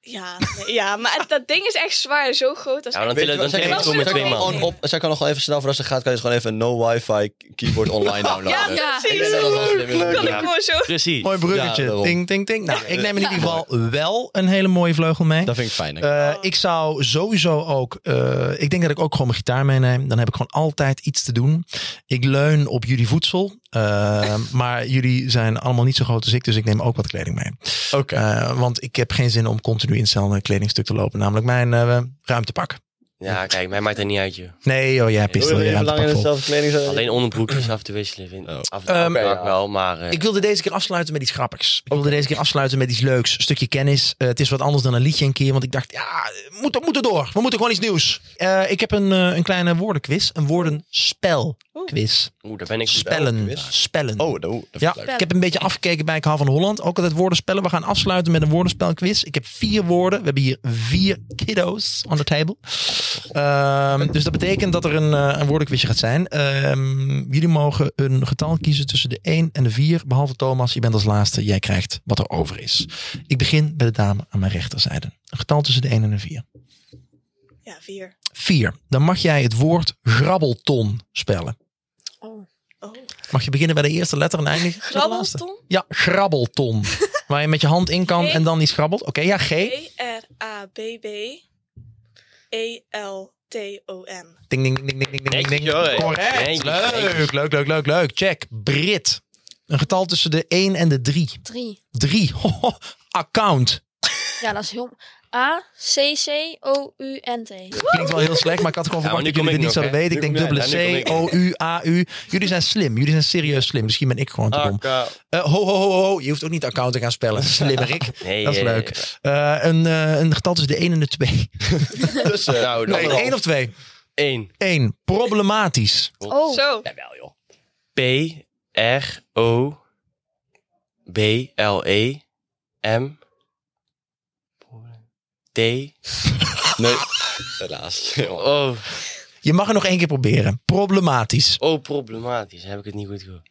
[SPEAKER 6] Ja, nee, ja maar het- dat ding is echt zwaar. Zo groot. Dat is
[SPEAKER 4] Ja, maar dan
[SPEAKER 6] echt-
[SPEAKER 4] tillen dan
[SPEAKER 3] Zou
[SPEAKER 4] tillen we
[SPEAKER 3] ik
[SPEAKER 6] wel
[SPEAKER 4] het gewoon met
[SPEAKER 6] zo
[SPEAKER 4] twee
[SPEAKER 6] groot.
[SPEAKER 4] man.
[SPEAKER 3] gewoon op, zou ik er nog wel even snel voor als het gaat, kan je dus gewoon even een no wifi keyboard online downloaden.
[SPEAKER 6] Ja,
[SPEAKER 5] Ja.
[SPEAKER 3] Ik
[SPEAKER 6] precies.
[SPEAKER 3] denk dat dat wel slim is.
[SPEAKER 6] Kan ik
[SPEAKER 4] Ja.
[SPEAKER 6] gewoon zo...
[SPEAKER 4] Precies.
[SPEAKER 2] Mooi bruggetje.
[SPEAKER 3] Ja, daarom.
[SPEAKER 2] ding, ding, ding. Nou, ik neem in ieder geval wel een hele mooie vleugel mee.
[SPEAKER 3] Dat vind ik fijn. denk ik.
[SPEAKER 2] Eh, ik zou sowieso ook. eh, ik denk dat ik ook gewoon mijn gitaar meeneem. Dan heb ik gewoon altijd iets te doen. Ik leun op jullie voedsel. Eh, maar jullie zijn allemaal niet zo groot als ik. Dus ik neem ook wat kleding mee.
[SPEAKER 3] Oké.
[SPEAKER 2] Eh, want ik heb geen zin om continu in hetzelfde kledingstuk te lopen. Namelijk mijn eh, ruimtepak.
[SPEAKER 4] Ja, kijk, mij maakt dat niet uit, joh.
[SPEAKER 2] Nee, oh ja,
[SPEAKER 3] Wil
[SPEAKER 2] pistol.
[SPEAKER 3] je
[SPEAKER 2] Je
[SPEAKER 3] even lang in
[SPEAKER 2] ruimtepak vol.
[SPEAKER 3] dezelfde kleding zijn?
[SPEAKER 4] Alleen onderbroekjes af te wisselen vind
[SPEAKER 3] Oh.
[SPEAKER 4] ik. Af
[SPEAKER 2] Ehm,
[SPEAKER 4] en toe
[SPEAKER 3] Oké,
[SPEAKER 4] ook
[SPEAKER 3] ja.
[SPEAKER 4] wel, maar... eh,
[SPEAKER 2] Ik wilde deze keer afsluiten met iets grappigs. Ik wilde deze keer afsluiten met iets leuks. Een stukje kennis. Eh, het is wat anders dan een liedje een keer. Want ik dacht, ja, moet, er- moet er door. We moeten gewoon iets nieuws. Eh, ik heb een, eh, een kleine woordenquiz. Een woordenspelquiz.
[SPEAKER 4] Oeh, daar ben ik...
[SPEAKER 2] Spellen.
[SPEAKER 3] woordenquiz.
[SPEAKER 2] Spellen.
[SPEAKER 3] Oh, dat, oeh, dat
[SPEAKER 2] Ja,
[SPEAKER 3] vind ik leuk.
[SPEAKER 2] ik heb een beetje afgekeken bij Ik hou van Holland. Ook altijd woordenspellen. We gaan afsluiten met een woordenspelquiz. Ik heb vier woorden. We hebben hier vier kiddo's on the table. Ehm, dus dat betekent dat er een, eh, een woordenquizje gaat zijn. Ehm, jullie mogen een getal kiezen tussen de 1 en de 4. Behalve Thomas, je bent als laatste. Jij krijgt wat er over is. Ik begin bij de dame aan mijn rechterzijde. Een getal tussen de 1 en de 4.
[SPEAKER 6] Ja, vier.
[SPEAKER 2] 4. Dan mag jij het woord grabbelton spellen.
[SPEAKER 5] Oh.
[SPEAKER 6] Oh.
[SPEAKER 2] Mag je beginnen bij de eerste letter en eindigen bij de laatste?
[SPEAKER 6] Grabbelton?
[SPEAKER 2] Ja, grabbelton. Waar je met je hand in kan
[SPEAKER 6] G.
[SPEAKER 2] en dan die schrabbelt. Oké, ja, G.
[SPEAKER 6] G-R-A-B-B E-L-T-O-N.
[SPEAKER 2] Ding, ding, ding, ding, ding, ding,
[SPEAKER 4] Netjes,
[SPEAKER 2] ding.
[SPEAKER 4] joh.
[SPEAKER 2] Correct.
[SPEAKER 4] Netjes,
[SPEAKER 2] Leuk,
[SPEAKER 4] netjes.
[SPEAKER 2] leuk, leuk, leuk, leuk. Check. Brit. Een getal tussen de 1 en de 3.
[SPEAKER 5] Drie.
[SPEAKER 2] 3. Account.
[SPEAKER 5] Ja, dat is heel... A, C, C, O, U, N, T.
[SPEAKER 2] Klinkt wel heel slecht, maar ik had gewoon
[SPEAKER 4] Ja, maar
[SPEAKER 2] verwacht dat
[SPEAKER 4] nu
[SPEAKER 2] jullie
[SPEAKER 4] kom
[SPEAKER 2] dit niet
[SPEAKER 4] ik nog,
[SPEAKER 2] zouden
[SPEAKER 4] hè.
[SPEAKER 2] weten. Ik
[SPEAKER 3] Nu
[SPEAKER 2] denk
[SPEAKER 3] kom
[SPEAKER 2] dubbele
[SPEAKER 4] jij.
[SPEAKER 2] C,
[SPEAKER 4] Ja, nu
[SPEAKER 2] O, U, A, U. Jullie zijn slim. Jullie zijn serieus slim. Misschien ben ik gewoon te dom.
[SPEAKER 4] Ah,
[SPEAKER 2] Eh, ho, ho, ho, ho. Je hoeft ook niet account te gaan spellen. Slimmerik.
[SPEAKER 4] Nee,
[SPEAKER 2] Dat is
[SPEAKER 4] eh,
[SPEAKER 2] leuk. Eh, een, eh, een getal tussen de 1 en de 2.
[SPEAKER 3] Dus, eh,
[SPEAKER 4] Nou, dan
[SPEAKER 2] Nee,
[SPEAKER 4] wel.
[SPEAKER 2] 1 of 2?
[SPEAKER 4] Eén.
[SPEAKER 2] 1. Problematisch.
[SPEAKER 5] Oh,
[SPEAKER 6] Zo.
[SPEAKER 4] Jawel, joh. E P-R-O-B-L-E-M T.
[SPEAKER 3] nee, helaas. Jongen.
[SPEAKER 4] Oh,
[SPEAKER 2] Je mag het nog één keer proberen. Problematisch.
[SPEAKER 4] oh, problematisch. Heb ik het niet goed gehoord.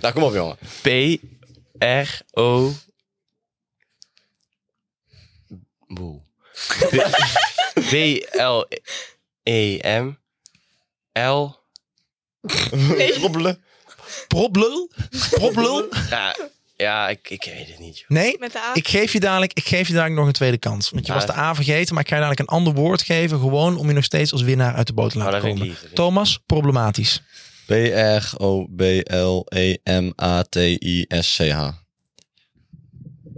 [SPEAKER 3] Nou, kom op, jongen.
[SPEAKER 4] P-R-O. Boel. B-L-E-M. E L.
[SPEAKER 3] Robbelen.
[SPEAKER 2] Problul? Problul?
[SPEAKER 4] Ja, ja ik, ik weet het niet. joh.
[SPEAKER 2] Nee?
[SPEAKER 6] Met de A.
[SPEAKER 2] Ik geef, je dadelijk, ik geef je dadelijk nog een tweede kans. Want je
[SPEAKER 4] Ja.
[SPEAKER 2] was de A vergeten, maar ik ga je dadelijk een ander woord geven. Gewoon om je nog steeds als winnaar uit de boot te
[SPEAKER 3] Oh,
[SPEAKER 4] Maar
[SPEAKER 2] laten
[SPEAKER 4] dat vind ik
[SPEAKER 2] komen.
[SPEAKER 4] lief. dat vind ik-
[SPEAKER 2] Thomas, problematisch.
[SPEAKER 3] B-R-O-B-L-E-M-A-T-I-S-C-H.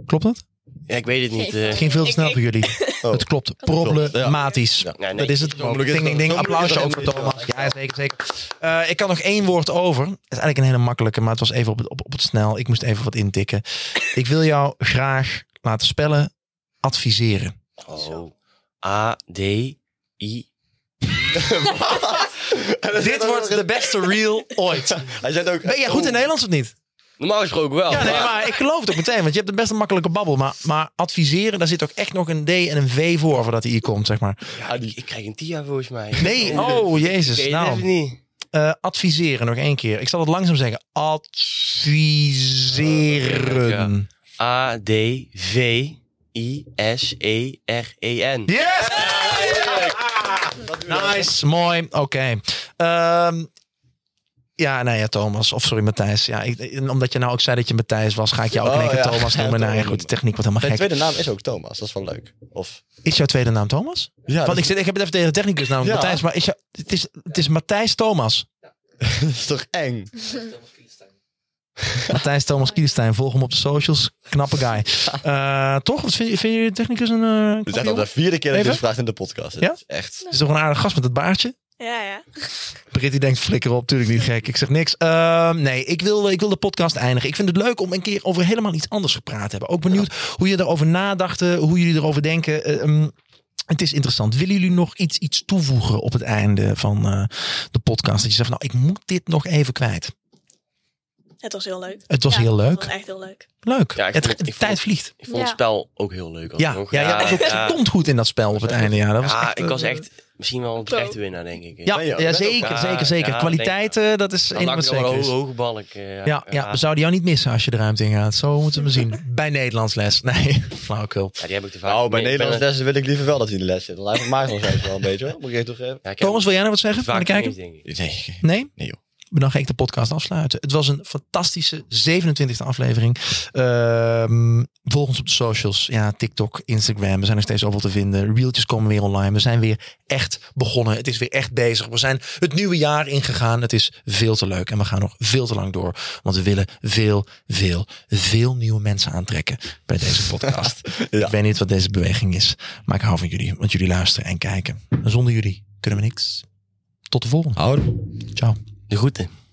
[SPEAKER 2] Klopt dat?
[SPEAKER 4] Ja, ik weet het niet. eh.
[SPEAKER 2] Het ging veel te
[SPEAKER 6] Ik-
[SPEAKER 2] snel
[SPEAKER 6] ik-
[SPEAKER 2] voor jullie.
[SPEAKER 3] Oh.
[SPEAKER 2] Het klopt. Problematisch.
[SPEAKER 3] Ja.
[SPEAKER 4] Ja, nee,
[SPEAKER 2] Dat is het.
[SPEAKER 3] Zo moet ik het
[SPEAKER 2] Ding, ding, ding.
[SPEAKER 3] zo moet ik
[SPEAKER 2] Applausje
[SPEAKER 3] het
[SPEAKER 2] ook
[SPEAKER 3] doen.
[SPEAKER 2] voor Thomas. Ja, zeker, zeker. Eh, ik kan nog één woord over. Het is eigenlijk een hele makkelijke, maar het was even op het, op, op het snel. Ik moest even wat intikken. Ik wil jou graag laten spellen adviseren.
[SPEAKER 4] Oh. A-D-I.
[SPEAKER 2] Dit wordt de beste reel ooit.
[SPEAKER 3] Hij zegt ook...
[SPEAKER 2] Ben jij goed in Nederlands of niet?
[SPEAKER 4] Normaal gesproken wel.
[SPEAKER 2] Ja, nee,
[SPEAKER 4] maar-
[SPEAKER 2] maar ik geloof het ook meteen. Want je hebt een best een makkelijke babbel. Maar, maar adviseren, daar zit ook echt nog een D en een V voor voordat hij hier komt, zeg maar.
[SPEAKER 4] Ja, ik, ik krijg een TIA volgens mij.
[SPEAKER 2] Nee, oh
[SPEAKER 4] Ik
[SPEAKER 2] jezus.
[SPEAKER 4] weet het
[SPEAKER 2] Nou,
[SPEAKER 4] even niet.
[SPEAKER 2] Eh, adviseren nog één keer. Ik zal het langzaam zeggen. Adviseren.
[SPEAKER 4] E, A-D-V-I-S-E-R-E-N.
[SPEAKER 2] Yes! Nice, mooi. Oké. Ehm, ja, nou ja, Thomas. Of sorry, Matthijs. Ja, ik- en omdat je nou ook zei dat je Matthijs was, ga ik jou ook in één
[SPEAKER 3] Oh,
[SPEAKER 2] keer
[SPEAKER 3] ja.
[SPEAKER 2] Thomas
[SPEAKER 3] Ja,
[SPEAKER 2] noemen. Nou ja,
[SPEAKER 3] Thomas.
[SPEAKER 2] goed, de techniek wordt helemaal
[SPEAKER 3] Mijn
[SPEAKER 2] gek.
[SPEAKER 3] tweede naam is ook Thomas, dat is wel leuk. Of,
[SPEAKER 2] Is jouw tweede naam Thomas?
[SPEAKER 3] ja,
[SPEAKER 2] Want ik, zit, ik heb het even tegen de technicus namelijk,
[SPEAKER 3] Ja.
[SPEAKER 2] Matthijs. Maar is jou, het, is, het is Matthijs Thomas.
[SPEAKER 3] dat is toch eng?
[SPEAKER 2] Matthijs Thomas Kielstein. Volg hem op de socials. Knappe guy. Eh, toch? Wat Vind, je- vind je de technicus een... eh, knappe
[SPEAKER 3] Dit is echt al
[SPEAKER 2] jongen?
[SPEAKER 3] de vierde keer dat ik
[SPEAKER 2] Even?
[SPEAKER 3] dit vraag in de podcast. Het
[SPEAKER 2] Ja?
[SPEAKER 3] is echt.
[SPEAKER 2] Het is toch een aardig gast met het baardje?
[SPEAKER 6] Ja, ja.
[SPEAKER 2] Britt die denkt, flikker op, tuurlijk niet gek. Ik zeg niks. Ehm, nee, ik wil, ik wil de podcast eindigen. Ik vind het leuk om een keer over helemaal iets anders gepraat te hebben. Ook benieuwd hoe je erover nadachten, hoe jullie erover denken. Eh, ehm, het is interessant. Willen jullie nog iets, iets toevoegen op het einde van eh, de podcast? Dat je zegt, van, nou, ik moet dit nog even kwijt.
[SPEAKER 6] Het was heel leuk.
[SPEAKER 2] Het was
[SPEAKER 6] Ja,
[SPEAKER 2] heel
[SPEAKER 6] Het
[SPEAKER 2] leuk.
[SPEAKER 6] was echt heel leuk.
[SPEAKER 2] Leuk.
[SPEAKER 4] Ja, ik
[SPEAKER 2] het,
[SPEAKER 4] vond het- ik
[SPEAKER 2] de
[SPEAKER 4] vond
[SPEAKER 2] tijd
[SPEAKER 4] het-
[SPEAKER 2] vliegt.
[SPEAKER 4] Ik vond het
[SPEAKER 5] Ja.
[SPEAKER 4] spel ook heel leuk. als
[SPEAKER 2] Ja,
[SPEAKER 4] jong.
[SPEAKER 2] ja, ja,
[SPEAKER 4] ja,
[SPEAKER 2] ja. komt goed in dat spel op het einde. Ja, dat was
[SPEAKER 4] Ja,
[SPEAKER 2] echt,
[SPEAKER 4] ik was
[SPEAKER 2] eh,
[SPEAKER 4] echt misschien wel een terechte winnaar, nou, denk ik.
[SPEAKER 2] Ja,
[SPEAKER 3] Ben je ook-
[SPEAKER 2] ja
[SPEAKER 3] ben je ook-
[SPEAKER 2] zeker,
[SPEAKER 4] Ja,
[SPEAKER 2] zeker, zeker.
[SPEAKER 4] ja, Nou,
[SPEAKER 2] Kwaliteit, eh, dat is
[SPEAKER 4] Dan
[SPEAKER 2] één wat
[SPEAKER 4] lag
[SPEAKER 2] zeker
[SPEAKER 4] wel een
[SPEAKER 2] is.
[SPEAKER 4] ho- hoge balk. eh,
[SPEAKER 2] Ja, ja, we zouden jou niet missen als je de ruimte ingaat. Zo moeten we hem zien. Bij Nederlands les. Nee, flauwekul.
[SPEAKER 4] Ja, die heb ik te vaak.
[SPEAKER 3] Nou, bij
[SPEAKER 4] nee, ik ben
[SPEAKER 3] Nederlands
[SPEAKER 4] er
[SPEAKER 3] lessen wil ik liever wel dat hij in de les zit. Dan lijkt het mij nog steeds wel een beetje, hoor. moet ik even toegeven.
[SPEAKER 4] Ja, ik heb
[SPEAKER 2] Thomas, wil jij nog wat
[SPEAKER 4] te
[SPEAKER 2] zeggen? Van de
[SPEAKER 4] vaak
[SPEAKER 2] kijker?
[SPEAKER 4] gemist, denk ik.
[SPEAKER 3] Nee,
[SPEAKER 2] Nee?
[SPEAKER 3] Nee, joh.
[SPEAKER 2] Dan ga ik de podcast afsluiten. Het was een fantastische 27e aflevering. Ehm volg ons op de socials. Ja, TikTok, Instagram. We zijn er steeds over te vinden. Reeltjes komen weer online. We zijn weer echt begonnen. Het is weer echt bezig. We zijn het nieuwe jaar ingegaan. Het is veel te leuk. En we gaan nog veel te lang door. Want we willen veel, veel, veel nieuwe mensen aantrekken bij deze podcast.
[SPEAKER 3] Ja.
[SPEAKER 2] Ik weet niet wat deze beweging is. Maar ik hou van jullie. Want jullie luisteren en kijken. Zonder jullie kunnen we niks. Tot de volgende.
[SPEAKER 3] Houden.
[SPEAKER 2] Ciao.
[SPEAKER 4] De groeten.